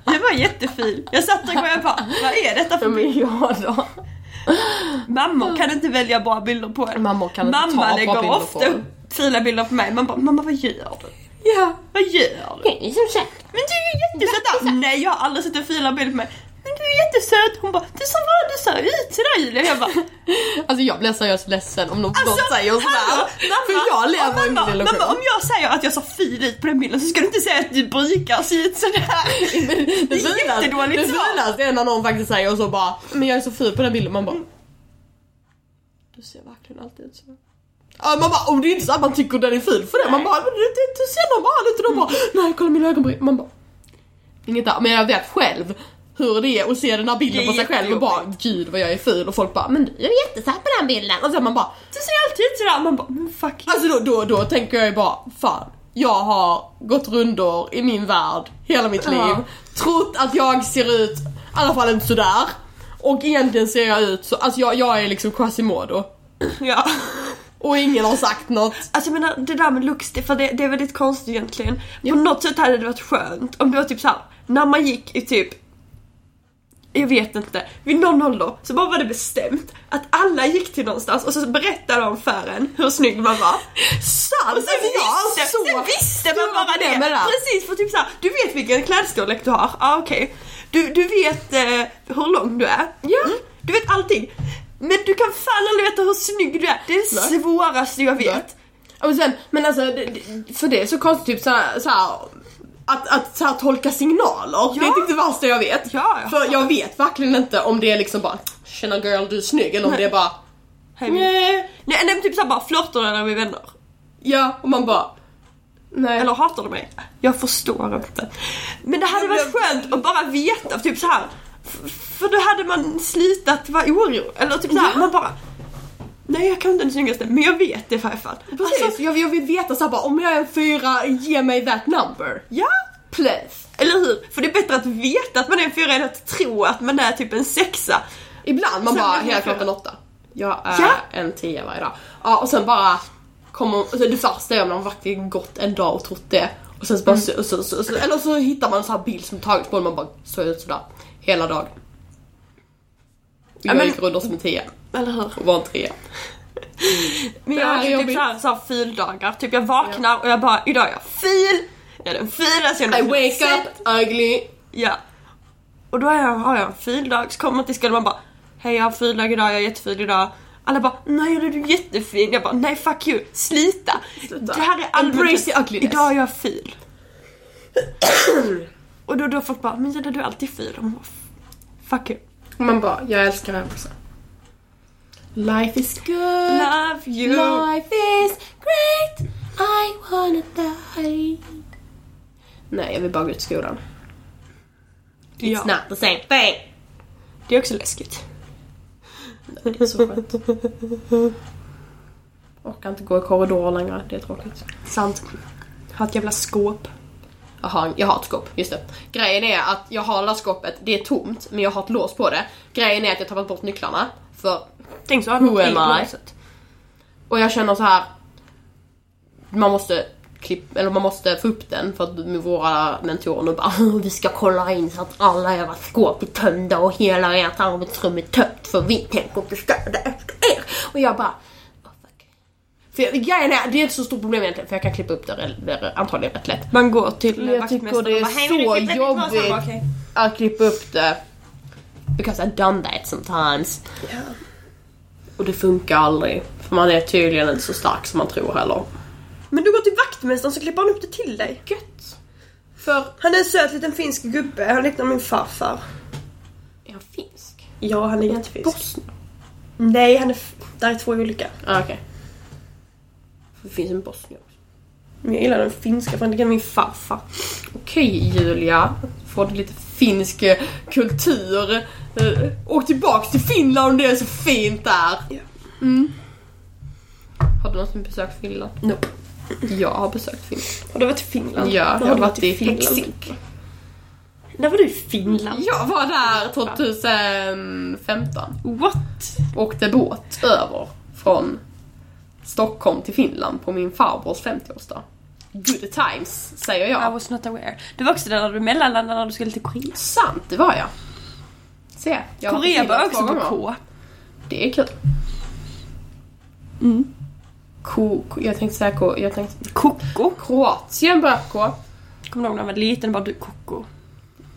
det var jättefin. Jag satt där och jag bara, vad är detta för bild? Men ja då. Mammor kan inte välja bra bilder på en. Mammor kan inte ta Mamma bra lägger bilder ofta på en. upp fula bilder på mig. Man bara, mamma vad gör du? Ja. Vad gör du? Det är som sagt. Men du är ju jättesöt! Nej jag har aldrig sett en fula bild på mig. Men du är jättesöt! Hon bara, du som var, du ser ut sådär Julia. Jag bara, Alltså jag blir seriöst ledsen om någon Alltså, säger sådär. hallå, För jag lever i en mamma, illusion. mamma, om jag säger att jag ser fin ut på den bilden så ska du inte säga att du brukar se ut sådär. *laughs* Det är finaste- jättedåligt Det svar. finaste är när någon faktiskt säger och så bara Men jag är så ful på den bilden, man bara Du ser verkligen alltid ut så Ja man bara, och det är inte så att man tycker den är ful för det Man bara, du, du, du ser normal ut och de Mm. bara Nej kolla mina ögonbryn, man bara Inget där, men jag vet själv hur det är att se den här bilden Det är på sig själv och bara Gud vad jag är ful och folk bara Men du är jättesöt på den bilden och sen man bara Du ser alltid ut sådär. Man bara, men fuck. Alltså då, då, då tänker jag ju bara, fan. Jag har gått rundor i min värld hela mitt Ja. liv. Trott att jag ser ut, i alla fall inte sådär. Och egentligen ser jag ut så, alltså jag, jag är liksom Quasimodo. Alltså, Ja. Och ingen har sagt något. Alltså jag menar det där med looks, det, för det, det är väldigt konstigt egentligen. På något sätt hade det varit skönt om det var typ såhär, när man gick i typ jag vet inte, vid någon ålder så bara var det bestämt att alla gick till någonstans och så berättade de för en hur snygg man var. Sant! alltså, Och sen, visste, sen Alltså, visste man bara det. Precis, för typ såhär, du vet vilken klädstorlek du har, ah, okej. Du, du vet eh, hur lång du är. Ja. Mm. Du vet allting. Men du kan fan aldrig veta hur snygg du är. Det är det Nej. svåraste jag vet. Och sen, men alltså, det- det- för det är så konstigt typ såhär, såhär att, att så här, tolka signaler, det är typ det värsta jag vet. Ja, jag För jag vet verkligen inte om det är liksom bara Tjena girl du är snygg eller om det är bara Hej, min- Nej. Nej, nej men typ såhär bara flörtar du när vi är vänner? Ja, och man bara Nej. Eller hatar du mig? Jag förstår inte. Men det hade varit skönt att bara veta, typ så här. f- För då hade man slutat vara orolig. Eller typ såhär, man bara... Nej jag kan inte den snyggaste, men jag vet det i varje fall. Precis. Alltså, jag, jag vill veta såhär bara, om jag är en fyra, ge mig that number. ja! Please. Eller hur? För det är bättre att veta att man är en fyra än att tro att man är typ en sexa. Ibland man Sen bara, vill jag helt klart fyra. en åtta. Jag är Ja. en tia varje dag. Ja, och sen bara kommer, alltså det första är om man verkligen gått en dag och trott det. Och sen så bara, så, så, så, så, eller så hittar man en sån här bild som tagits på en och man bara, såg ut sådär. Hela dagen. Och Jag men- gick runt som en tia Eller hur? och var en trea. Men Det jag här har är ju typ jobbigt. såhär, såhär fildagar. Typ jag vaknar och jag bara, idag är jag fil. Jag är den filaste jag I någonsin har wake sett. up ugly. Ja. Och då har jag, har jag en fildag, så kommer man till skolan och man bara Hej jag har fildag idag, jag är jättefil idag. Alla bara nej Julia, du är jättefin. Jag bara nej fuck you, slita. Sluta. Det här är allmänt. Embrace the ugliness. Idag är jag fil. *clears throat* och då, då har folk bara men Julia du är alltid fil. Och man bara, fuck you. Och man bara, jag älskar henne också. Life is good. Love you. Life is great, I wanna die Nej, jag vill bara gå ut skolan. It's Ja. not the same thing. Det är också läskigt. Det är så skönt. Orkar inte gå i korridorer längre, det är tråkigt. Sant. Har ett jävla skåp. Jag har, jag har ett skåp, just det. Grejen är att jag har det där skåpet, det är tomt, men jag har ett lås på det. Grejen är att jag tappat bort nycklarna, för Tänk så har Who am I? Och jag känner så här. Man måste klipp, eller man måste få upp den för att med våra mentorer nu bara Vi ska kolla in så att alla era skåp är tömda och hela ert arbetsrum är tömt för vi tänker inte städa efter er. Och jag bara "Åh, fuck." för jag, grejen är, det är inte så stort problem egentligen för jag kan klippa upp det re- re- antagligen rätt lätt. Man går till Jag tycker vaktmästaren det är och bara, "Hej, vill du så klippa ditt glas?" Han bara, jobbigt. "Okej." Att klippa upp det. Because I've done that sometimes. Och det funkar aldrig. För man är tydligen inte så stark som man tror heller. Men du går till vaktmästaren så klipper han upp det till dig. Gött! För Han är en söt liten finsk gubbe, han liknar min farfar. är han finsk? Ja, han är Är han jättefinsk. Bosnien? Nej, han är... f- Där är två olika. Ah, okej. Det finns en Bosnien också. Men jag gillar den finska för han liknar min farfar. Okej Julia, får du lite finsk eh, kultur. Eh, Åk tillbaks till Finland om det är så fint där. Ja. Mm. Har du någonsin besökt Finland? Nope. Jag har besökt Finland. Har du varit i Finland? Ja, Har jag har du varit i Finland. Helsinki? När var du i Finland? Jag var där 2015. What? Åkte båt över från Stockholm till Finland på min farbrors 50-årsdag. Good times, säger I jag. was not aware. Det var också där du mellanlandade när du skulle till Korea. Sant, det var jag. Se, jag har varit i Korea var Finland också två på gånger. K. Det är kul. Mm. Ko, ko, jag tänkte säga ko, jag tänkte... Koko. Kroatien börjar på K. Kommer du ihåg när man var liten? Bara du koko.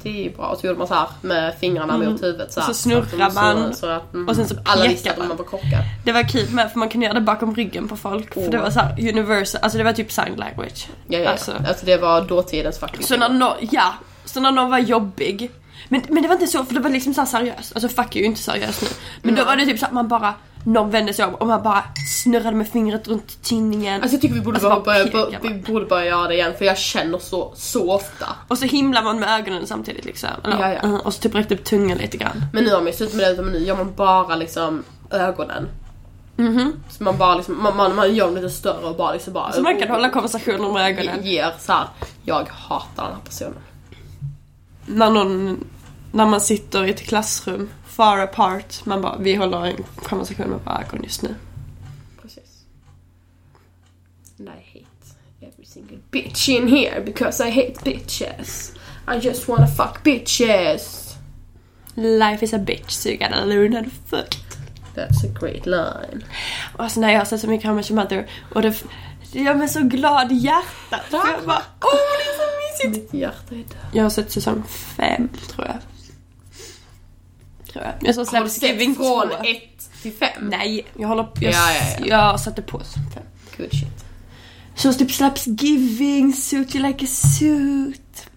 Det är ju bra. Och så gjorde man så här med fingrarna Mm. mot huvudet så Och här. så snurrar att de- man. Så, så att, mm, Och sen så alla pekar visste att man. man var kockar. Det var kul med för man kunde göra det bakom ryggen på folk. För det var så här universal, alltså det var typ sign language. Ja, ja, ja. Alltså. Alltså. det var dåtidens fucking... Så när någon, ja, så när någon var jobbig. Men, men det var inte så, för det var liksom så här seriöst. Alltså fuck är ju inte seriöst nu. Men då var det typ så att man bara, någon vände sig om och man bara snurrade med fingret runt tinningen. Alltså jag tycker vi borde, Alltså, bara bara börja, pekar bör- vi man. borde börja göra det igen för jag känner så, så ofta. och så himlar man med ögonen samtidigt liksom. Eller, Ja, ja. mm, Och så typ räckte upp tungan lite grann. Men nu har man ju slutat med det utan nu gör man bara liksom ögonen. Mhm. Så man bara liksom, man, man, man gör dem lite större och bara liksom bara... Så man kan hålla konversationer med ögonen. Ger såhär, jag hatar den här personen. När någon, när man sitter i ett klassrum, far apart. Man bara, vi håller en konversation med våra ögon just nu. Precis. And I hate every single bitch in here because I hate bitches. I just wanna fuck bitches. Life is a bitch, so you gotta learn how to fuck. That's a great line. Alltså när jag ser så mycket How I Met Your Mother och det, det gör mig så glad i hjärtat. För jag bara, åh det är så mysigt! Mitt hjärta är dött. Jag har sett säsong fem, tror jag. Tror jag. Jag såg Har du Thanksgiving sett från 2. 1 till 5? Nej, jag håller på. Jag, Ja, ja, jag satte på säsong fem. Good shit. Så typ slaps giving, suit you like a suit.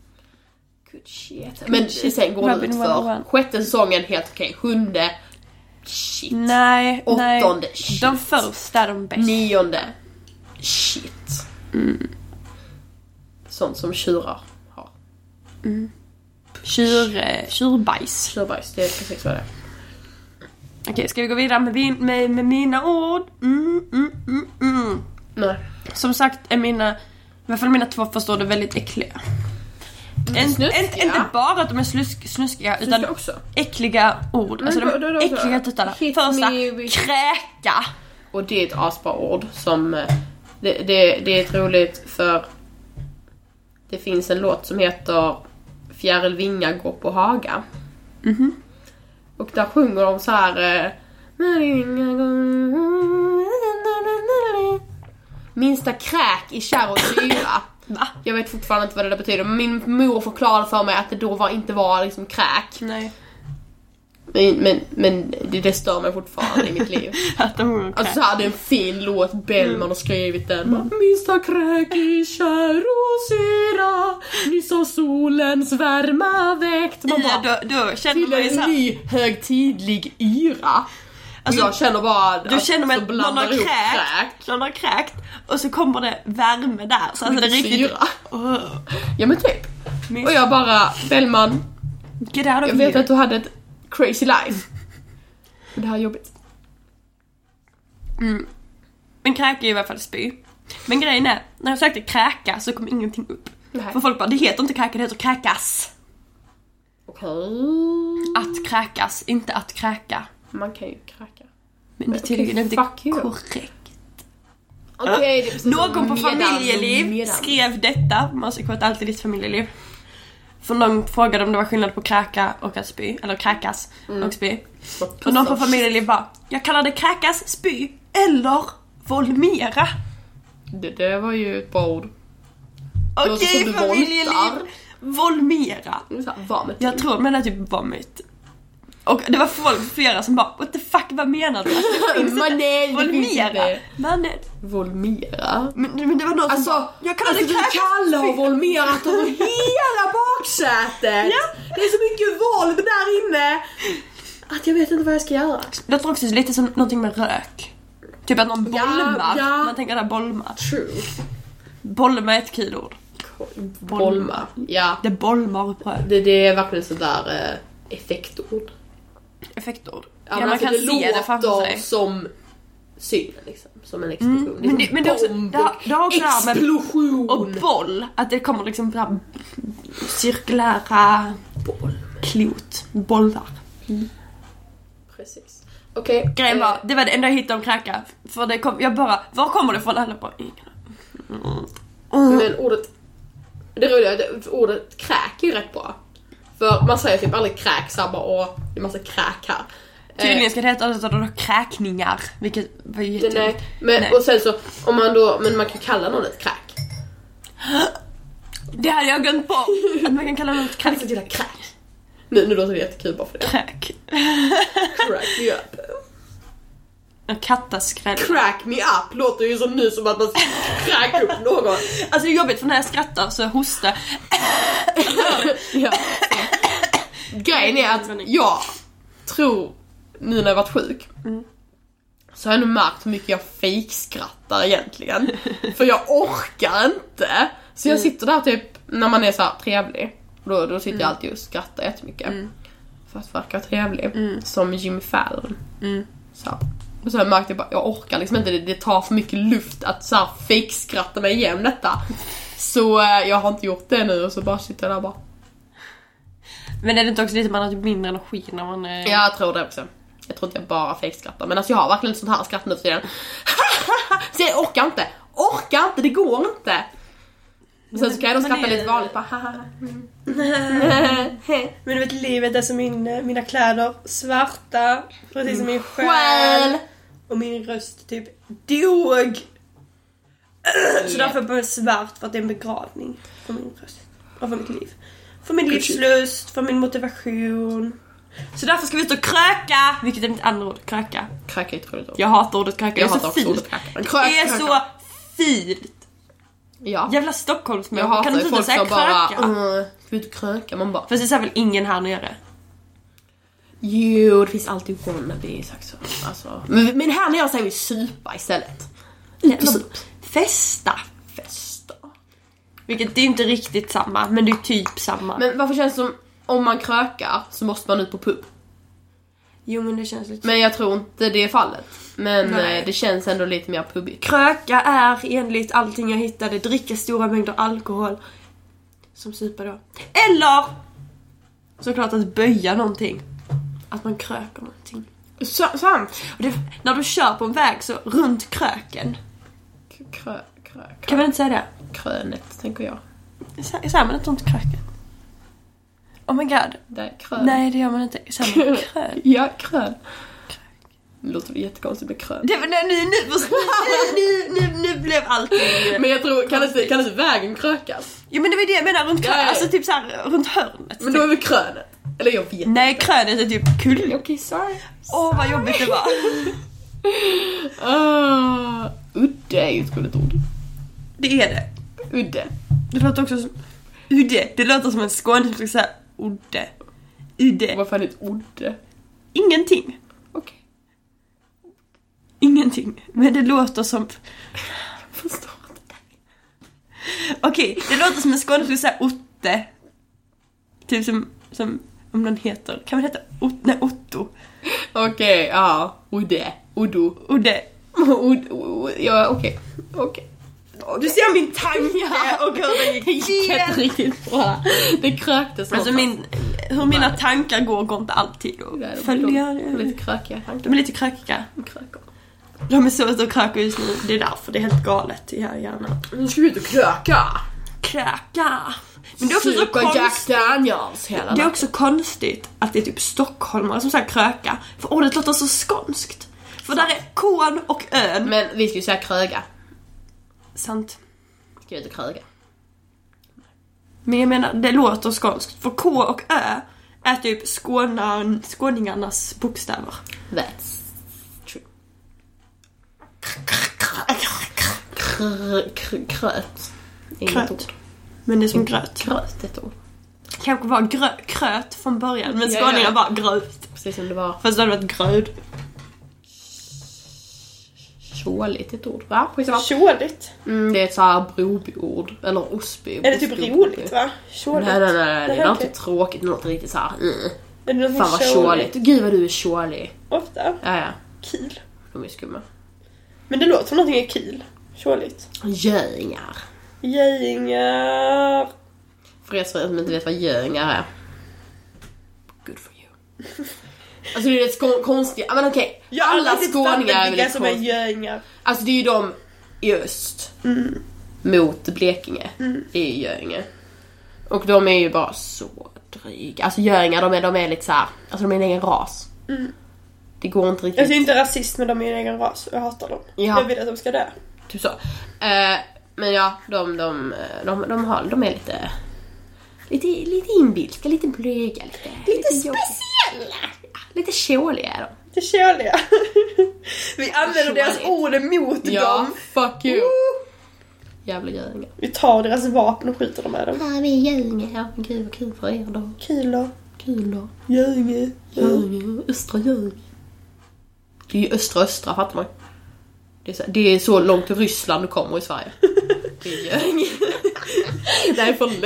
Good shit. Men shit. sen går det Robin ut för 101. Sjätte säsongen helt okej. Sjunde, shit. Nej, nej. Åttonde, shit. De första är de bästa. Nionde, shit. Mm. Sånt som tjurar har. Tjur, eh, tjurbajs. Tjurbajs, det är precis vad det är. Okej, ska vi gå vidare med, vin- med, med mina ord? Mm, mm, mm, mm. Nej. Som sagt är mina, i alla fall mina två första ord är väldigt äckliga. En, Mm, snuskiga. en, inte bara att de är slusk, snuskiga utan Tycker också. äckliga ord. Alltså de då- då- är då- äckliga att då- uttala. hit Första, me with- kräka. Och det är ett asbra ord som... eh, Det, det, det är ett roligt för... Det finns en låt som heter Fjärilvinga går på haga. Mhm. Och där sjunger de så här... eh, Minsta kräk i kärr och syra. Va? Jag vet fortfarande inte vad det där betyder. men Min mor förklarade för mig att det då var, inte var liksom kräk. Nej. Men, men, men det, det stör mig fortfarande i mitt liv. *laughs* Att de sjunger Alltså kräk. såhär, det är en fin låt, Bellman har skrivit den. Mm. Minsta kräk i kär och syra, nyss har solens värma väckt. Man Ja, bara, då, då känner till man ju en såhär, ny högtidlig yra. Alltså, jag känner bara då känner man så att någon har blandar ihop kräkt, någon har kräkt och så kommer det värme där. Så alltså det är Mycket riktigt... syra. Åh, Ja men typ. miss- Och jag bara, Bellman, Get out of jag vet here. att du hade ett crazy life. *laughs* Men det här är jobbigt. Men kräka är ju i alla fall spy. Men grejen är, när jag sökte kräka så kom ingenting upp. Nej. För folk bara, det heter inte kräka, det heter kräkas. Okej. Att kräkas, inte att kräka. Man kan ju kräka. Men det är Okej, tydligen fuck inte you. korrekt. Okej, det är precis som Någon på medan och familjeliv medan. skrev detta, man ska kolla alltid ditt familjeliv. För någon frågade om det var skillnad på kräka och att spy, eller kräkas Mm. och spy. Och någon på familjeliv bara, jag kallar det kräkas, spy eller volmera. Det, det var ju ett bra ord. Okej låter som du familjeliv, voltar. volmera. Det är så här, Vad med Jag tror men det är typ vomit. Och det var folk, flera som bara what the fuck vad menar du? Alltså, *laughs* det finns Men inte- nej, det finns Volmera! inte. Men, men, Volmera? men det var någon som Alltså, bara, jag kan alltså aldrig du alltså, Kalle har *laughs* volmerat över hela baksätet! Ja. Det är så mycket volv där inne! Att jag vet inte vad jag ska göra. Det låter också lite som någonting med rök. Typ att någon Ja, bolmar. ja. Man tänker där bolmar. True. Bolma är ett kul ord. Bolma. Ja. Det bolmar på rök. Det, det är verkligen sånt där eh, effektord. Effektord. Ja, men man alltså, kan se det framför sig. Mm. som synen liksom. Som en explosion. Liksom Men det, men det, är också, Bomb. det, har, det har också det här med Explosion! och boll. Att det kommer liksom så här cirkulära boll. klot. Bollar. Precis. Okej. Grejen eh, var, det var det enda jag hittade om kräka. För det kom, jag bara, var kommer det från? Alla bara, ingen Mm. Mm. Men ordet... Det roliga är att ordet kräk är ju rätt bra. För man säger typ aldrig kräk såhär bara åh, det är massa kräk här. Eh, Tydligen ska det heta alltså, då kräkningar. Vilket var ju det- jätteroligt. nej. Men, Nej. Och sen så, om man då, men man kan kalla någon ett kräk. Det hade jag glömt på! Att man kan *laughs* kalla något kräk. Alltså gillar kräk. Nu, nu låter det jättekul bara för det. Kräk. *laughs* Crack me up. En Kattaskräll. Crack me up låter ju som nu som att man crack upp någon. Alltså det är jobbigt för när jag skrattar så jag hostar *laughs* Ja. Grejen är att jag tror, nu när jag varit sjuk, så har jag nu märkt hur mycket jag fejkskrattar egentligen. För jag orkar inte. Så jag sitter där typ, när man är så här trevlig, då, då sitter jag alltid och skrattar jättemycket. För att verka trevlig. Som Jimmy Fallon. Så. Och så har jag märkt att jag bara- jag orkar liksom inte, det, det tar för mycket luft att så här fejkskratta mig igenom detta. Så eh, jag har inte gjort det nu och så bara sitter jag där och bara Men är det inte också lite man har typ mindre energi när man är... Ja, jag tror det också. Jag tror inte jag bara fejkskrattar. Men alltså jag har verkligen ett sånt här skratt nu för tiden. *laughs* så jag orkar inte. Orkar inte, det går inte. Och Sen så kan jag då Men det- skratta lite vanligt bara haha. Men du vet livet är som min, eh, mina kläder, svarta, precis som Mm. min Well! Och min röst typ dog. Äh. Så därför blev det svart för att det är en begravning för min röst. Och för mitt liv. För min livslust, för min motivation. Så därför ska vi ut och kröka! Vilket är mitt andra ord, kröka. Kräk är ett roligt ord. Jag hatar ordet kröka, Jag det är hatar så också fint. ordet kräk. Men Det krök, är krök, så krök. fint! Ja. Jävla Stockholmsmän, Jag hatar kan du ju inte folk säga som kröka? bara Bara... "Mm, Ska vi ut och kröka? Man bara Fast det är väl ingen här nere? jo det finns alltid wannabes också. Alltså. Men, men här nere säger vi supa istället. Ut och sup. Festa! Festa. Vilket det är inte riktigt samma, men det är typ samma. Men varför känns det som om man krökar så måste man ut på pub? Jo men det känns lite... Men jag tror inte det är fallet. Men Nej. eh, det känns ändå lite mer pubbigt. Kröka är enligt allting jag hittade dricka stora mängder alkohol. Som supa då. Eller! Såklart att böja någonting. Att man kröker någonting. Sant! Och det, när du kör på en väg så runt kröken. Krö, krö, krö, Kan man inte säga det? krönet, tänker jag. Sä- Säger man inte runt kröken? Oh my god. Där, krön. Nej det gör man inte. *laughs* Säger man krök? Ja, krön. Det låter väl jättekonstigt med krön. Det, var- nej, nu, nu, nu, nu, nu, nu blev allting... eh, Men jag tror, kan inte, kan inte vägen krökas? Jo men det var det jag menar, runt, krö, Nej. alltså, typ så här, runt hörnet. typ. Men då är väl krönet? Eller jag vet Nej krönet är typ kullen. Okej, sorry. Åh vad jobbigt det var. Uh, udde är ju ett roligt ord. *laughs* Det är det. Udde. Det låter också som... Udde. Det låter som en skåning som ska säga udde. Udde. Vad fan är ett udde? Ingenting. Okej, Ingenting. Men det låter som... förstår inte. Okej, det låter som en skåning som ska säga otte. Typ som... som om någon heter... Kan man heta Otto? Nej, Otto. Okej, ja. Udde. Uddo. Udde. Ud- ud- Ja, okej. Okej. Du ser min *laughs* tanke och hur den Helt gick igen. riktigt bra. Det kröktes Alltså någonstans. min, hur mina tankar går går inte alltid att följa. de, de, lite krökiga tankar. De är lite krökiga. De krökar. De är så ute och krökar just nu. Det är därför det är helt galet i här hjärnan. Nu ska vi ut och kröka! Kröka! Men det är också så Supa Jack konstigt. Daniels hela Det är natten. också konstigt att det är typ stockholmare som säger kröka. För ordet låter så skånskt. För där är kon och ön. Men vi ska ju säga kröga. Sant. Vi ska ut och kröga. Men jag menar, det låter skånskt. För k och ö är typ skånan, skåningarnas bokstäver. That's true. Kr- kr- Kröt. Inget Kröt. ord. Men det är som gröt. Kröt är ett ord. Kanske var grö, kröt från början men Ja, skåningar ja. bara gröt. Precis som det var Fast det hade varit gröd. tjåligt ett ord. Va? Skitsamma. Tjåligt. Mm, det är ett så här brobyord. Eller Osby. Är det typ Osby- roligt va? Nej, Tjåligt. nej, nej, nej. Det Nej, är okej. inte tråkigt. Det låter riktigt såhär... Mm. Är det något Fan vad tjåligt. Gud vad du är tjålig. Ofta. Ja, ja. Kil. De är skumma. Men det låter som någonting är kil. Tjåligt. Göingar. Gejingar. För er som inte vet vad göingar är. Good for *laughs* you. Alltså det är ett skå- konstigt... Men okej. Jag har Alla aldrig skåningar fattat är väl vilka lite som är konstiga. göingar. Alltså det är ju de i öst. Mm. Mot Blekinge. Det är ju Göinge. Och de är ju bara så dryga. Alltså Göingar de är, de är lite så här. Alltså de är en egen ras. Det går inte riktigt. Mm. Alltså jag är inte rasist men de är en egen ras och jag hatar dem. Ja. Jag vill att de ska dö. Typ så. Eh, men ja, de, de, de, de, har, de är lite... Lite, lite inbilska, lite blyga, lite... Lite jobbiga. speciella. Ja, Lite tjåliga är de. Det tjåliga. *laughs* Vi använder deras Tjåligt. ord emot dem. fuck you! Woo! Mm. Jävla göingar. Vi tar deras vapen och skjuter dem med dem. Ja, vi är göingar. Gud vad kul för er då. Kilor. Kul då. Göinge. Göinge, östra Göinge. Det är ju östra östra, fattar man. Det är så, det är så långt till Ryssland du kommer i *laughs* Sverige. Det är *laughs* Göinge. Nej, förlåt.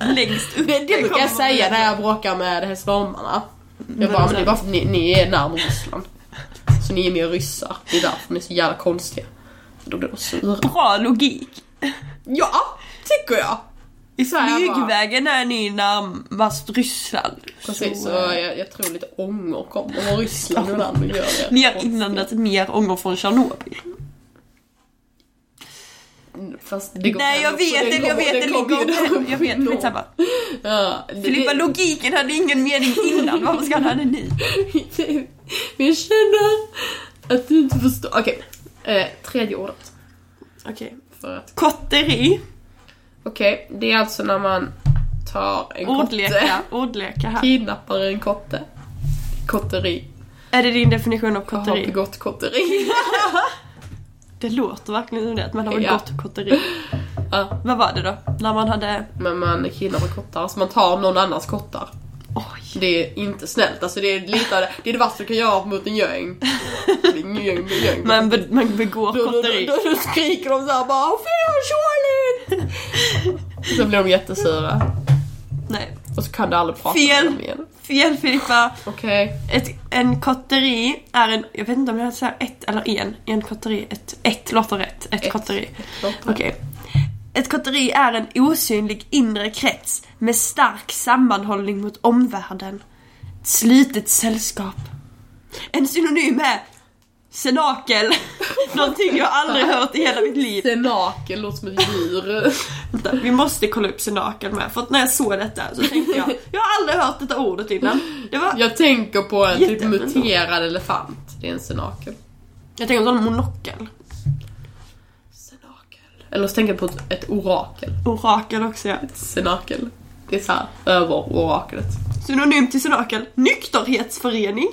Eh, Längst upp. Det, det brukar jag säga när jag bråkar med hästnormarna. Jag bara, men det är bara för att ni, ni är närmare Ryssland. Så ni är mer ryssar. Det är därför ni är så jävla konstiga. För Då blir de sura. Bra logik. Ja, tycker jag. I Så här bara. smygvägen är ni närmast Ryssland. Precis, så Så, eh, jag, jag tror lite ånger kommer från Ryssland ibland. och gör det. Ni har inlandat mer ånger från Tjernobyl. Fast det går Nej jag ändå- det vet det, jag går- vet det ligger kommer ju Jag vet, ändå. skitsamma. Ja, det- Filippa, logiken hade ingen mening innan, varför ska han ha det nu? *laughs* Men jag känner att du inte förstår. Okej, eh, tredje ordet. Okej. För att... Kotteri. Okej, det är alltså när man tar en kotte, Ordleka. Ordleka här. *laughs* kidnappar en kotte. Kotteri. Är det din definition av Jag har kotteri? begått kotteri. *laughs* Det låter verkligen som det, att man har Ja. gått kotteri. Ja, Vad var det då? När man hade... men man kidnappar kottar, så man tar någon annans kottar. Oj. Det är inte snällt, alltså det är lite av det, det är det värsta du kan göra mot en göing. Det är en Göing, en göing. Man, be- man begår Då, då, då, kotteri. då, då skriker de såhär bara Fy vad tjåligt! Så blir de jättesura. Nej. Och så kan du aldrig prata Fel. med dem igen. Fel Filippa. Okej. Ett, en kotteri är en... Jag vet inte om jag ska säga ett eller en. En kotteri. Ett, ett låter rätt. Ett, Ett. kotteri. Låter. Okej. Ett kotteri är en osynlig inre krets med stark sammanhållning mot omvärlden. Ett slutet sällskap. En synonym är cenakel. *laughs* Någonting jag aldrig hört i hela mitt liv. Det är naken, låter som ett djur. *laughs* Vänta, vi måste kolla upp cenakel med. För att när jag såg detta så *laughs* tänkte jag, jag har aldrig hört detta ordet innan. Det var, Jag tänker på en typ Jätteämnen. muterad elefant. Det är en senakel. jag tänker på en sån monokel. Senakel. Eller så tänker jag på ett, ett orakel. Orakel också ja. Senakel. Det är såhär över oraklet. Synonym till cenakel, nykterhetsförening.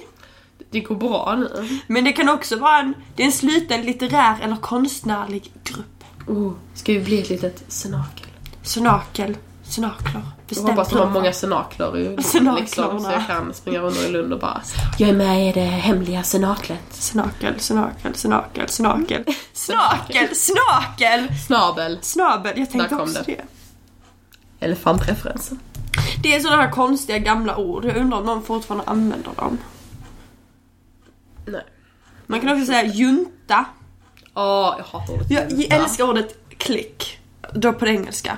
Det går bra nu. Men det kan också vara en, det är en sluten litterär eller konstnärlig grupp. Oh, ska vi bli ett litet senakel? Cenakel, cenakler. Jag Bestämt hoppas de har härifrån. många senakler i Senaklerna. Leksand så jag kan springa runt i Lund och bara Jag är med i det hemliga senaklet. Cenakel, cenakel, cenakel, *laughs* cenakel. Snakel, snakel! Snabel. Snabel, jag tänkte Där kom också det. det. Elefantreferensen. Det är sådana här konstiga gamla ord, jag undrar om någon fortfarande använder dem. Nej. Man kan också säga junta. Åh, jag hatar ordet Jag, jag junta. älskar ordet klick. Då på det engelska.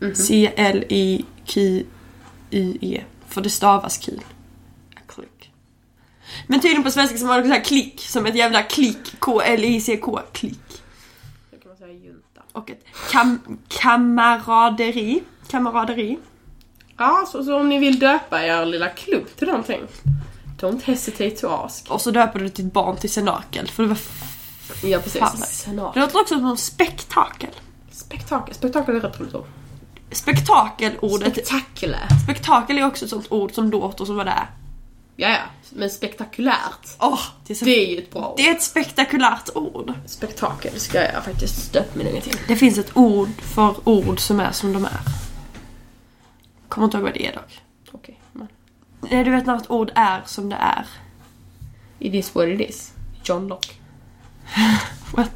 Mhm. C-L-I-K-I-E. E, För det stavas kil. Klick. Men tydligen på svenska så var det så här klick. Som ett jävla klick. K-L-I-C-K. Klick. Då kan man säga junta. Och ett kam- kamaraderi. Kamaraderi. Ja, så, så om ni vill döpa er lilla klubb till någonting. Don't hesitate to ask. Och så döper du ditt barn till senakel. För det var Ja, fan. precis. Det låter också som spektakel. Spektakel. Spektakel är rätt roligt ord. Spektakelordet. Spektakle. Spektakel är också ett sånt ord som låter som vad det är. Ja, ja. Men spektakulärt. Åh, det, är så... Det är ju ett bra ord. det är ett spektakulärt ord. Spektakel ska jag faktiskt döpa min egen till. Det finns ett ord för ord som är som de är. Kommer inte ihåg vad det är dock. Okej. men- Nej, Eh, du vet när ett ord är som det är. It is what it is. John Locke. What?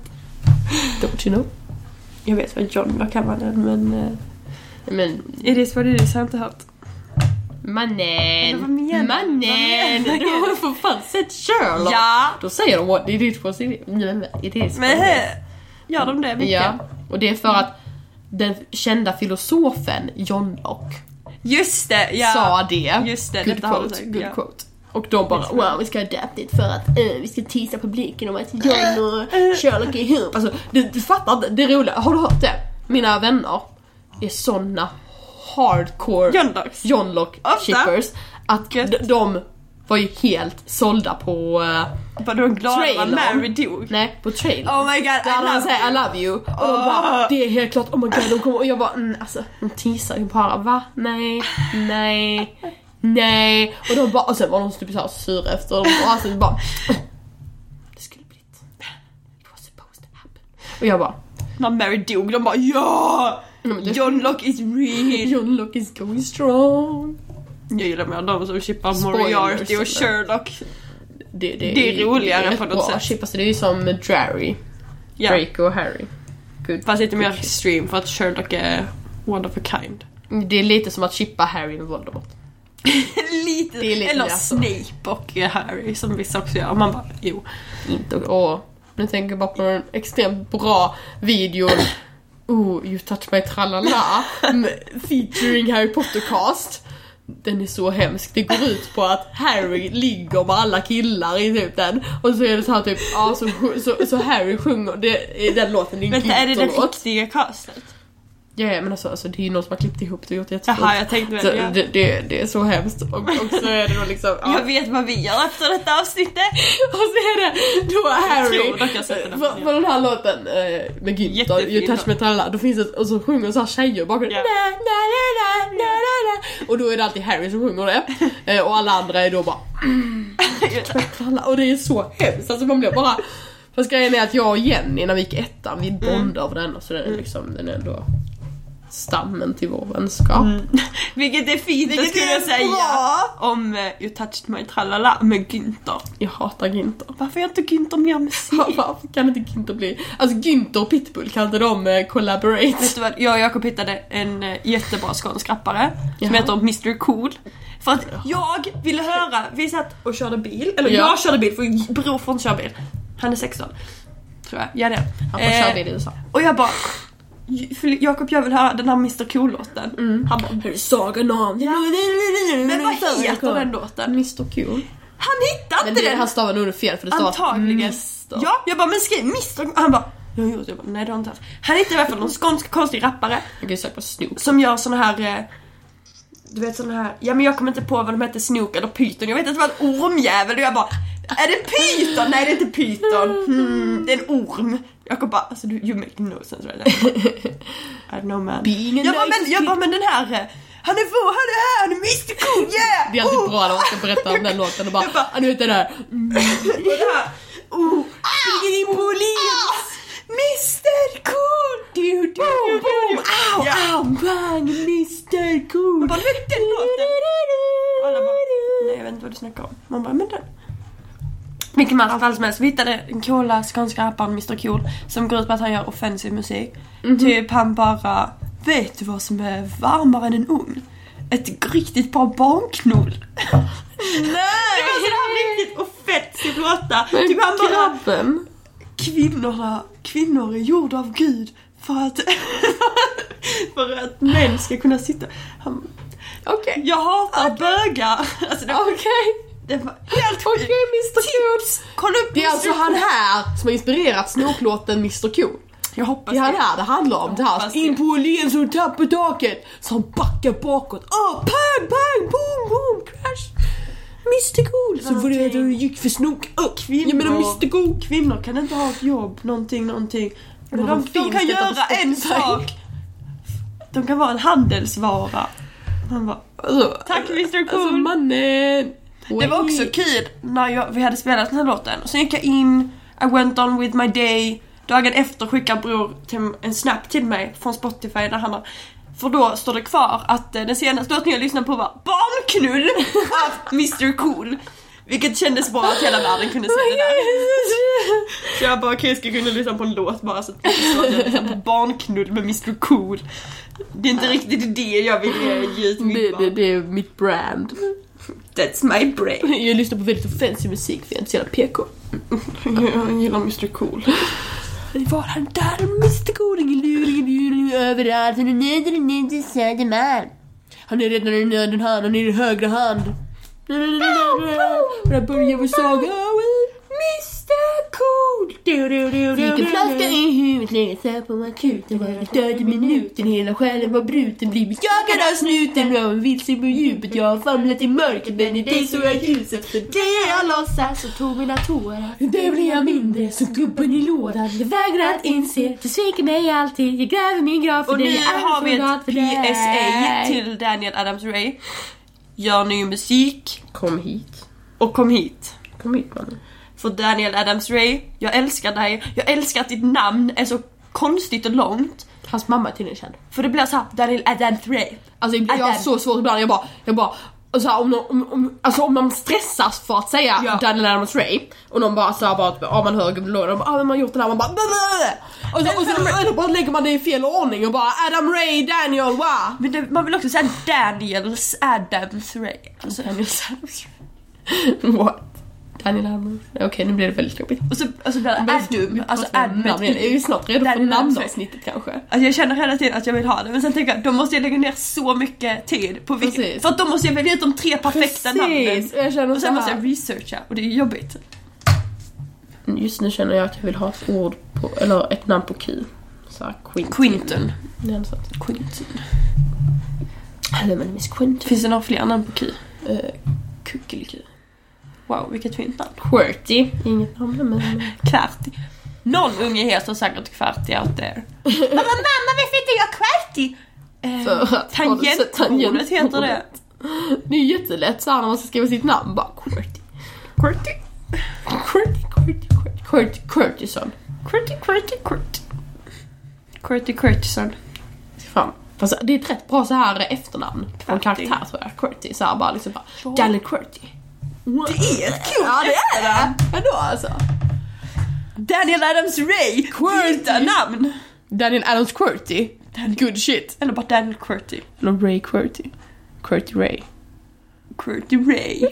Don't you know? Jag vet vad John var kallad men... Uh, Men it is what it is har jag inte hört. Men mannen. vad menar- mannen. vad menar Du har ju för fan sett Sherlock. Ja! Då säger de what it is what it is. Nej, nej, It is what Men it is. eh, gör de det mycket? Ja. Och det är för att den kända filosofen John Locke Just det! Ja. sa det. Just det, good detta har du quote, sagt, good ja. quote. Och de bara wow vi ska adapt it för att eh, vi ska tisa publiken om att John *laughs* och Sherlock är ihop. Alltså du, du fattar inte, det är roliga, har du hört det? Mina vänner är såna hardcore John Locks. John Locke Ofta. shippers att Gött. de, de var ju helt sålda på, eh, Var du glad att Trailern. Mary dog? nej på trail. Oh my god, Där I han love säger I you. love you och de bara det är helt klart oh my god de kommer och jag bara mm, alltså de teasar ju bara va nej nej nej och de bara och sen var de typ såhär sura efter och de bara, alltså, bara det skulle bli ett- it was supposed to happen och jag bara När Mary dog, de bara ja! "Mm, men det- John Locke is real! John Locke is going strong Jag gillar mer de som chippar Spoilers, Moriarty eller? och Sherlock. det, Det är roligare rätt på något bra. sätt. Shit, alltså, det är ju som Drarry Ja. Draco och Harry Good. Fast lite mer extreme för att Sherlock är one of a kind. Det är lite som att chippa Harry med Voldemort *laughs* lite, Det är lite eller det, alltså. Snape och eh, Harry som vissa också gör. Man bara jo. inte åh. Nu tänker jag bara på en extremt bra video. Oh, you touch my *laughs* tralala. med- Featuring Harry Pottercast. Den är så hemsk. Det går ut på att Harry ligger med alla killar i typ den. Och så är det så här typ, ja så, så, så Harry sjunger, det, är den låten det är en Vänta är det det glitterlåt. riktiga castet? Ja, ja men alltså, alltså det är ju någon som har klippt ihop det och gjort det jättefint. Jaha jag tänkte Så väl ja. det, det, det är så hemskt. Och, och så är det då liksom, ja. Jag vet vad vi gör efter detta avsnittet! *laughs* Och så är det då tror Harry dock jag sätter den på på, på den här låten eh, med Günther, Jättefin You touch låt. me tralla, då finns det, och så sjunger så här tjejer bakom Ja. na, na, na, na, na, na, na. Och då är det alltid Harry som sjunger det eh, och alla andra är då bara tralla och det är så hemskt alltså man blir bara Fast grejen är att jag och Jenny när vi gick i ettan, vi bondade över den och så den är liksom, den är ändå stammen till vår vänskap. Vilket är fint Vilket Vilket skulle jag är säga bra. om eh, You touched my tralala med Günther. Jag hatar Günther. Varför gör inte Günther *laughs* mer musik? Fan, *laughs* Varför kan inte Günther bli... Alltså Günther och Pitbull, kan inte de eh, collaborate? Vet du vad, jag och Jakob hittade en eh, jättebra skånsk rappare som Jaha. heter Mr Cool. För att jag ville höra, vi satt och körde bil, eller Ja. jag körde bil för Bror får inte köra bil. Han är 16. Tror jag, ja det är han. Han får köra Eh, bil i USA. Och jag bara "J- Jakob jag vill höra den här Mr Cool-låten. Han bara Mm. Sagan om... Men vad heter den låten? Mr Cool. Han hittade Men inte det den! här stavar nog fel för det Mm. stavas Antagligen. Mr. Ja, jag bara men skriv Mr Han bara jag har gjort det. Jag bara, nej det har jag inte haft. Han hittade i alla fall någon skånsk konstig rappare Jag kan ju söka på Snoop. som gör såna här eh, du vet såna här, ja men jag kommer inte på vad de hette, Snook eller Python. Jag vet att det var en ormjävel och jag bara Är det Python? Nej det är inte Python. Hmm, det är en orm. Jakob bara alltså du, you make no sense right now. I don't know man. Being a Jag bara, nice men, jag bara men den här eh, han är vår, han är här, han är Mr Cool, yeah! Det är alltid Oh! bra när man ska berätta om den låten och bara, *laughs* Jag bara- ah, nu vet jag det här. Och det här, oh, Ah! Biggity Police! Mr Cool! Oh, Du, du, Boom, boom, ow, Ja. ow! Man, Mr Cool. Man bara, vet den låten? Och alla bara, nej jag vet inte vad du snackar om. Man bara, men den. Vilken man fall som helst, vi hittade den coola skånska rapparen Mr Cool som går ut på att han gör offensiv musik. Typ han bara, vet du vad som är varmare än en ugn? Ett riktigt bra barnknull. *laughs* Det var så här riktigt offensiv låta. Typ han bara, Grabben. kvinnorna, kvinnor är gjorda av Gud för att, *laughs* för att män ska kunna sitta. Han, Okej. jag hatar bögar! Alltså det var, Okej. det var helt sjukt. Okej Mr Cool. Kolla upp Det är alltså Mr. han här som har inspirerat Snoop-låten Mr Cool. Jag hoppas Det är han det. här det handlar om. Det här hoppas som in det. på Åhléns och tappar taket. Som backar bakåt. Oh, pang, pang, boom, boom, crash. Mr Cool. Så var det att du gick för snok. Oh, Kvinnor. Jag menar Mr Cool. Kvinnor kan inte ha ett jobb, någonting, någonting. Men Men de, de de finns kan inte på göra en Spotify. sak. de kan vara en handelsvara. Man bara, Alltså, tack Mr Cool! alltså mannen! Det var också kul när jag, vi hade spelat den här låten. Sen gick jag in, I went on with my day. Dagen efter skickar bror till, en snap till mig från Spotify där han har för då står det kvar att eh, den senaste låten jag lyssnade på var Barnknull *laughs* av Mr Cool. Vilket kändes bra att hela världen kunde se det där. Så jag bara okej, jag ska kunna lyssna på en låt bara så att jag förstår att jag lyssnar på Barnknull med Mr Cool. Det är inte riktigt det jag vill eh, ge ut Det, mitt det, barn. det är mitt brand. That's my brain. Jag lyssnar på väldigt offensiv musik för jag är inte så jävla PK. *laughs* Jag gillar Mr Cool. Var han där Mr Cool? Överallt. Han är nöjd, han är nöjd, han är Södermalm. Han är redan i nöden han, han är i högra hand. Och där börjar vår saga. Mr Cool! Fick en flaska i huvudet, lägger sig på akuten. Var jag död i minuten, hela själen var bruten. Blivit jagad av snuten, jag var vilse på djupet. Jag har famlat i mörkret, men i dig såg jag ljuset. För dig har jag låtsats och tog mina tårar. Det blir jag mindre, som gubben i lådan. Du vägrar att inse, du sviker mig alltid. Jag gräver min grav för Och nu dig, jag är har vi soldat ett för dig. PSA till Daniel Adams-Ray. Gör ny musik Kom hit. och kom hit. Kom hit mannen. För Daniel Adams-Ray, jag älskar dig. Jag älskar att ditt namn är så konstigt och långt. Hans mamma är tydligen känd. För det blir såhär, Daniel Adams-Ray. Alltså jag har Adam. så svårt ibland, jag bara, jag bara och så här, om, någon, om, om, alltså om man stressas för att säga Ja. Daniel Adams Ray och någon bara såhär bara, ja man hör Gubben Lord och bara, ah, men man har gjort det där man bara "Blablabla." och så, och så, och så bara lägger man det i fel ordning och bara Adam Ray, Daniel, *laughs* wow! Men det, man vill också säga Daniels Adams-Ray. Alltså, Daniel Adams Ray. What? Daniel Adams Okej nu blir det väldigt jobbigt. och så alltså, blir det Adam. Alltså Adam. namn, jag är ju snart redo för Daniel Adams Ray. namnavsnittet kanske. Alltså jag känner hela tiden att jag vill ha det men sen tänker jag då måste jag lägga ner så mycket tid på vilket, Precis. För att då måste jag välja ut de tre perfekta namnen. och jag känner Och sen måste såhär. jag researcha och det är jobbigt. Just nu känner jag att jag vill ha ett ord på, eller ett namn på Q. Såhär Queen. Quinton. Det är något sånt. Quinton. Hello my name is Quint. Finns det några fler namn på Q? Eh, Uh, Kuckeliku. Wow, vilket fint namn. Qwerty. Inget namn men... Kvarti. Någon unge heter säkert Kvarti *laughs* out there. mamma, mamma varför heter jag Kvarti? För att- har Eh, du sett Tangentbordet heter det. tangentbordet? Det är ju jättelätt såhär när man ska skriva sitt namn bara QWERTY. Qwerty. QWERTY, QWERTY, QWERTY, QWERTY, QWERTYson. Qwerty, Qwerty, Qwerty. Qwerty Qwertyson. Fan. Fast det är ett rätt bra så här efternamn på en QWERTY. karaktär tror jag. QWERTY. Såhär bara liksom bara, Ja. Daniel QWERTY. Det är ett kul Ja det är det! Ändå alltså. Daniel Adams Ray! Byta namn! Daniel Adams QWERTY. Good shit. Eller bara Daniel Qwerty. Eller Ray QWERTY. QWERTY *laughs* Ray. Qwerty Ray.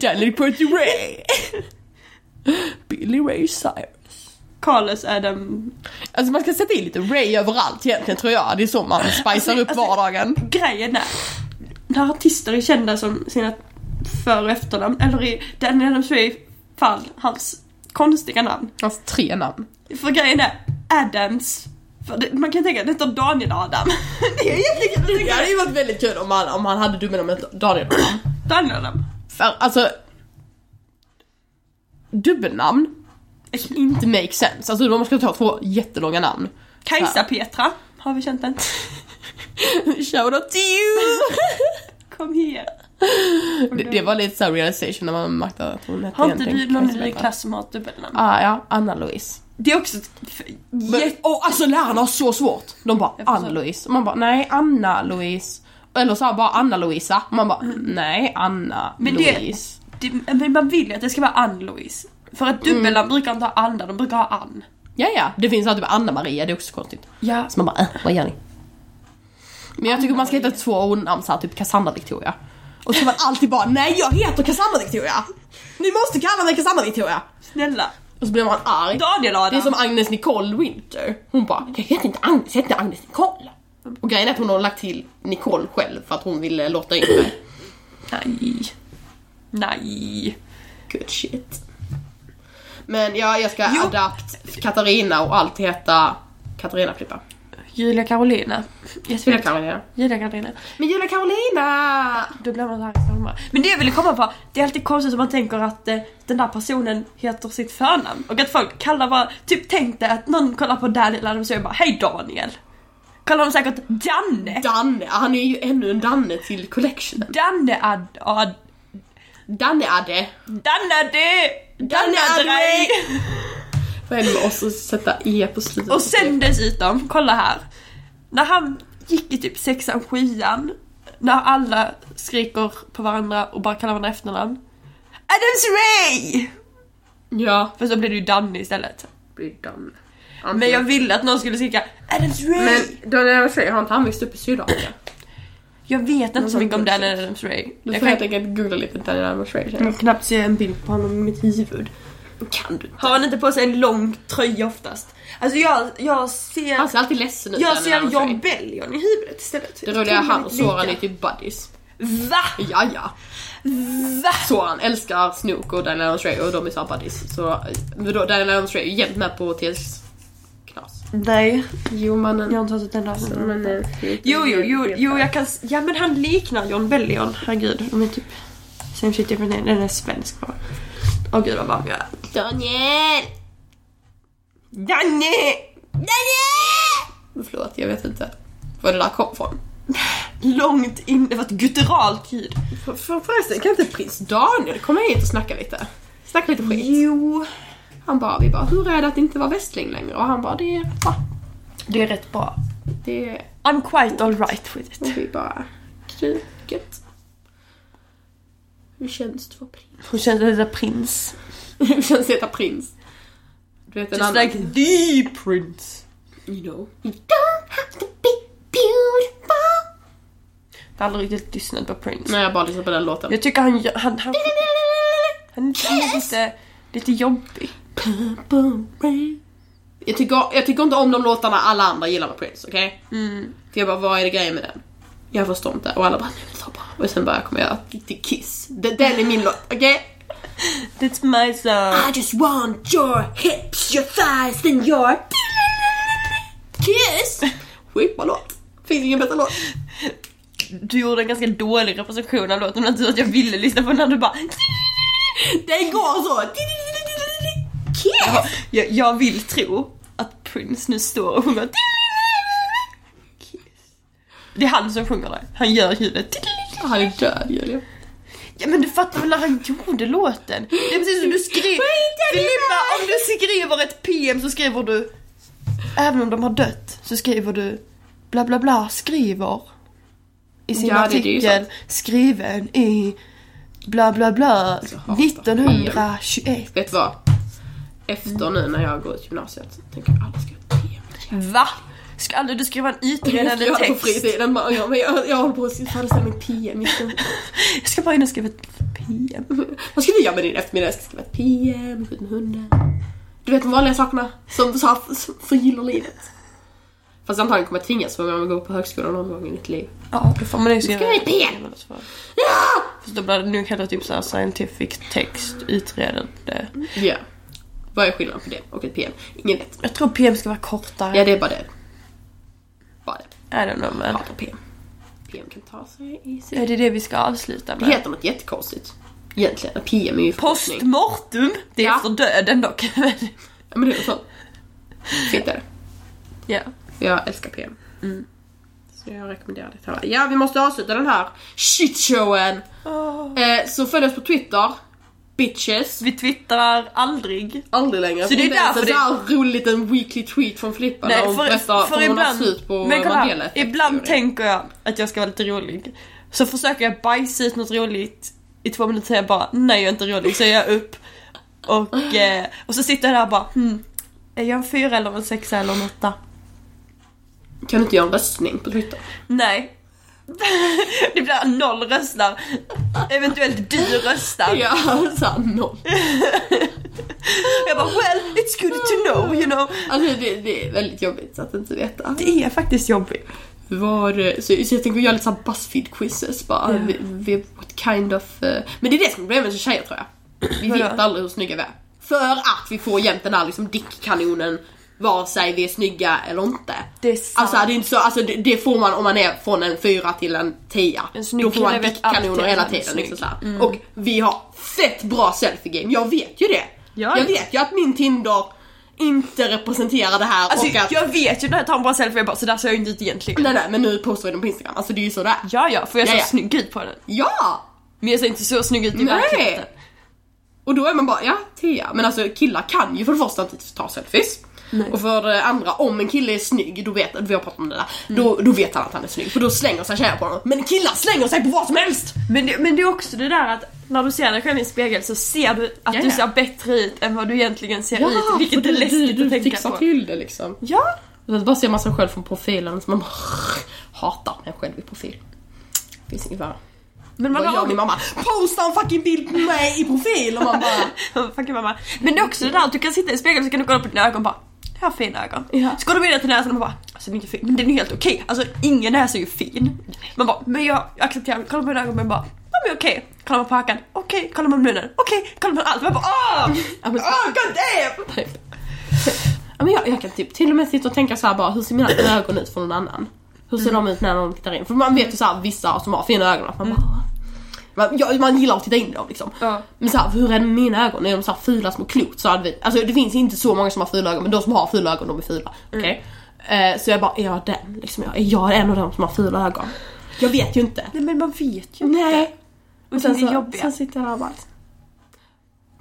Daniel QWERTY *laughs* Ray. Billy Ray Cyrus. Carlos Adam... Alltså man ska sätta in lite Ray överallt egentligen tror jag. Det är så man spicar upp alltså- vardagen. Grejen är, när artister är kända som sina för och efternamn, eller i Daniel Adams Ray fall, hans konstiga alltså, namn. Hans tre namn. För grejen är, Adams... För det, man kan tänka att det heter Daniel Adam. *laughs* det är egentligen det Det hade tänker ju varit väldigt kul om han, om han hade dubbelnamnet Daniel. Daniel Adam. För alltså... Dubbelnamn, inte make sense. Alltså man ska ta två jättelånga *laughs* namn. Kajsa Petra, har vi känt den? Shoutout till you! Kom här. Det, det var lite såhär realization när man märkte att hon hette Har inte du egentligen någon i Kajsa din Petra. klass som har ett dubbelnamn? Ah, ja, Anna-Louise. Det är också ett f- Men, och alltså lärarna har så svårt. De bara Jag förstår. Ann-Louise. Och Man bara nej, Anna-Louise. Eller så här bara Anna-Louisa. Och Man bara nej, Mm. Men det- Anna-Louise. Det, men man vill ju att det ska vara Ann-Louise. För att dubbelnamn Mm. brukar inte ha Anna, de brukar ha Ann. Ja, ja. Det finns alltid Anna-Maria, det är också konstigt. Ja. Så man bara, äh, vad gör ni? Men jag tycker man ska hitta två ordnamn såhär, typ Cassandra-Victoria. Och så ska man alltid bara, nej jag heter Cassandra-Victoria! Ni måste kalla mig Cassandra-Victoria! Snälla. Och så blir man arg. Daniel Adam. Det är som Agnes Nicole Winter. Hon bara, jag heter inte Agnes, jag heter Agnes Nicole. Och grejen är att hon har lagt till Nicole själv för att hon ville låta in mig. Nej. Nej. Good shit. Men ja, jag ska Jo. adapt Katarina och allt heta Katarina Flippa. Julia Carolina. Julia Karolina. Julia Carolina. Men Julia Karolina! Då blir man så här i sommar. Men det jag ville komma på, det är alltid konstigt om man tänker att eh, den där personen heter sitt förnamn. Och att folk kallar bara, typ tänk dig att någon kollar på Daniel Adams och jag bara Hej Daniel! kallar honom säkert Danne. Danne, Ah, han är ju ännu en Danne till collectionen. Danne ad... ad Danne-Adde. Danne du! Danne Danne dig! Vad är det med oss att sätta E på slutet? Och sen dessutom, kolla här. När han gick i typ sexan, sjuan. När alla skriker på varandra och bara kallar varandra efternamn. Adams Ray! Ja. För så blev det ju Danne istället. Blir Danne. Men jag ville att någon skulle skrika Adams Ray! Men Daniel Frey, har inte han växt upp i Sydafrika? jag vet inte så mycket om det är Dan Adams Ray. Du Jag får helt kan, enkelt googla lite Daniel Frey. kan knappt se en bild på honom i mitt huvud. Kan du? Har han inte på sig en lång tröja oftast? Alltså jag, jag ser... Han ser alltid ledsen ut. jag Daniel ser Frey. John Bellion i huvudet istället. Det roliga är han och Soran är typ buddies. Va? Ja, ja. Va? Soran älskar Snook och Daniel Frey och de är såhär buddies. Så men då, Daniel Frey är jämt med på TS knas. Nej, Jo mannen. jag har inte hört ett enda avsnitt. Men, eh, Jo, jo, jo, jo, jag kan... s- Ja, men han liknar John Bellion. Herregud, de är typ... Same shit different name. Den är svensk bara. Åh gud vad varm jag är. Daniel! Danne! Förlåt, jag vet inte var det där kom från. Långt in, det var ett gutturalt ljud. För, för, förresten, kan inte prins Daniel komma hit och snacka lite? Snacka lite skit. Jo. Han bara, vi bara, hur är det att inte vara västling längre? Och han bara, det är rätt bra. Det är rätt bra. Det är... I'm quite alright with Och it. vi bara, kriget. Hur känns det att vara prins? Hon kände det där prins. *laughs* Hur känns det att heta prins? Du vet en Just annan... like the prince. You know. You don't have to be beautiful. Jag har aldrig riktigt lyssnat på Prince. Nej, jag bara lyssnar på den låten. Jag tycker han gör- han, han, han är lite, lite jobbig. Jag tycker, jag tycker inte om de låtarna alla andra gillar med Prince, okej? För jag bara, vad är det grejen med den? Jag förstår inte. Och alla bara, nej men ta bara. Och sen bara, kommer jag till Kiss. Den den är min låt, okej? That's my song. I just want your hips, your thighs and your kiss. Skitbra låt. Finns ingen bättre låt. Du gjorde en ganska dålig representation av låten men tur att jag ville lyssna på den när du bara Den går så. Kiss. jag, jag vill tro att Prince nu står och sjunger Det är han som sjunger det. Han gör ljudet. Han är död Julia. Ja men du fattar väl när han gjorde låten? Det är precis som du skrev... Filippa, om du skriver ett PM så skriver du... Även om de har dött så skriver du bla bla bla skriver i sin Ja, det- det är ju artikel skriven i bla bla bla jag hatar 1921. Vet du vad? Efter nu när jag går ut gymnasiet tänker jag alla ska ha PM. Va? Ska aldrig du skriva en Jag *laughs* utredande gör det på text? fritiden bara, ja, men jag, jag håller på att föreställa min PM just nu. *laughs* Jag ska bara in och skriva ett PM. Vad ska du göra med din eftermiddag? Jag ska skriva ett PM, skjuta med hunden. Du vet de vanliga sakerna som, som, som förgyller livet. Fast antagligen kommer jag tvingas för om jag går på högskolan någon gång i mitt liv. Ja, då får man ju skriva... Skriv ett PM. Fast då blir det nog hellre typ såhär scientific text, utredande. Ja. Vad är skillnaden på det och ett PM? Ingen vet. Jag tror PM ska vara kortare. Ja, det är bara det. Bara det. I don't know men. Jag hatar PM. PM kan ta sig i sig. Ja, det är det vi ska avsluta Det med. heter något jättekonstigt. Egentligen. PM är ju förkortning. Postmortum! Det är Ja. efter döden dock. *laughs* men- Ja, men det är något sånt. Fint är det. ja. Jag älskar PM. Så jag rekommenderar det till alla. Ja, vi måste avsluta den här shitshowen. Eh, så följ oss på Twitter. Bitches. Vi twittrar aldrig. Aldrig längre. Så det är Inte ens därför en det- sån här rolig liten weekly tweet från Flippa när hon berättar för hon har slut på men kolla, här, Mandela-effekten. ibland tänker jag att jag ska vara lite rolig. Så försöker jag bajsa ut något roligt i två minuter jag bara nej jag är inte rolig så jag upp. Och, eh, och så sitter jag där och bara hmm, är jag en fyra eller en sexa eller en åtta? Kan du inte göra en röstning på Twitter? Nej. *laughs* Det blir noll röstar. Eventuellt du röstar. Ja, *laughs* alltså, såhär noll. Jag bara well, it's good to know, you know. Alltså det, det är väldigt jobbigt att inte veta. Det är faktiskt jobbigt. Var, så, så jag tänker göra lite såhär Buzzfeed-quizzes bara. Ja. Vi, vi, what kind of... eh, men det är det som är problemet med tjejer tror jag. Vi Vadå? vet aldrig hur snygga vi är. För att vi får jämt den här liksom dickkanonen vare sig vi är snygga eller inte. Det är sant. Alltså det är inte så, alltså det, det får man om man är från en fyra till en tia. En snygg Då får man kille vet alltid dickkanoner hela att han är tiden. Liksom snygg. Mm. såhär. Och vi har fett bra selfie game, jag vet ju det. Ja. Jag vet ju att min Tinder inte representerar det här Alltså och att... jag vet ju när jag tar en bra selfie jag bara sådär ser jag inte ut egentligen. Nej, nej, men nu postar vi den på Instagram. Alltså det är ju sådär. Ja ja, för jag ser Ja, ja. snygg ut på den. Ja! Men jag ser inte så snygg ut Nej. i verkligheten. Och då är man bara, ja, Tia. Men alltså killar kan ju för det första inte ta selfies. Och för det andra, om en kille är snygg, då vet, vi har pratat om det där, då, då vet han att han är snygg. För då slänger sig tjejer på honom. Men killar slänger sig på vad som helst! Men det, men det är också det där att när du ser dig själv i en spegel så ser du att Ja, du ja. ser bättre ut än vad du egentligen ser ut. Vilket för är läskigt du, du, att tänka fixar på. till det liksom. Ja, Och sen bara ser man sig själv från profilen så man bara hatar mig själv i profil. Finns inget värre. men man Vad har gör min mamma? Posta en fucking bild på mig i profil! Och man bara... *laughs* Fuck you, mamma. Men det är också det där att du kan sitta i spegeln så kan du kolla på dina ögon och bara jag har fina ögon. Ja. Så går du med dig till näsan och bara alltså den är inte fin, men den är helt okej. Alltså ingen näsa är ju fin. Man bara men jag jag accepterar, det." kollar på mina ögon men bara ja men okej. Kollar man på hakan, okej. Kollar man på munnen, okej. Kollar man på allt, man bara åh! Ja, men- Åh god damn! Typ. Ja, men jag, jag kan typ till och med sitta och tänka så här bara, hur ser mina ögon ut för någon annan? Hur ser de ut när någon tittar in? För man vet ju så här, vissa som har fina ögon att man bara... Man, ja, man gillar att titta in i dem liksom. Ja. Men så här, hur är det med mina ögon? Är de så här fula små klot? Så hade vi, alltså det finns inte så många som har fula ögon men de som har fula ögon de är fula. Okej? Eh, så jag bara, är jag den? Liksom, jag, är jag en av dem som har fula ögon? Jag vet ju inte. Nej men man vet ju. Nej. Och Och sen sen, det är så, jobbiga. sen sitter jag där och bara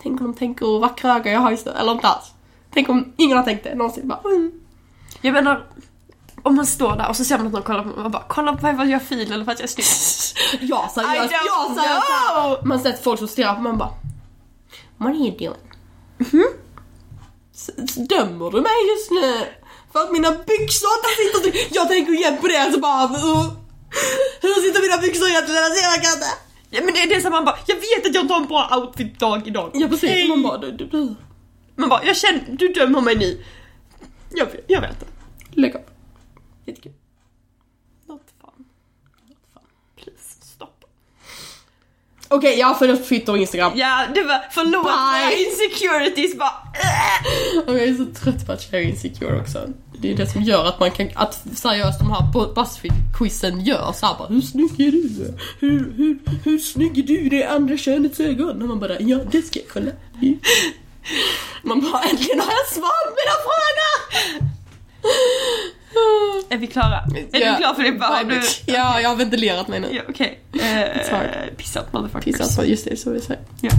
Tänk om de tänker hur vackra ögon jag har just nu, eller inte alls. Tänk om ingen har tänkt det någonsin. Bara, mm. Jag menar om man står där och så ser man att någon kollar på mig man bara kolla på mig för att jag är fin eller för att jag *laughs* är snygg. Ja, I seriöst. don't Ja, seriöst. Man har sett folk som stirrar på man bara What are you doing? Mhm. S- s- Dömer du mig just nu? För att mina byxor inte sitter till... Jag tänker igen på det så bara "Hur- Hur sitter mina byxor egentligen? Alltså, Jag ser jag inte. Ja men det är det som man bara jag vet att jag inte har en bra outfit dag idag. Ja precis, Nej. man bara du, du, du. Man bara, jag känner, du dömer mig nu. Jag, vet- jag vet det. Lägg av. Jättekul. Not fun. Not fun. Please, stopp. Okej, jag följer oss på Twitter och Instagram. Ja, det var förlåt Bye. mina insecurities bara. *laughs* äh. Och jag är så trött på att tjejer är insecure också. Det är det som gör att man kan, att seriöst de här Bu- Buzzfeed-quizen gör såhär bara Hur snygg är du? Hur, hur, hur snygg är du i det andra könets ögon? Och man bara ja det ska jag kolla. *laughs* Man bara äntligen har jag svar på mina frågor! Är vi klara? *laughs* Är Ja. du klar för det? Bara, har Bye, du... bitch. Ja, jag har ventilerat mig nu. Ja, okej. Eh, Sorry. pissat motherfuckers. Pissat på, just det, så vi säger. Ja.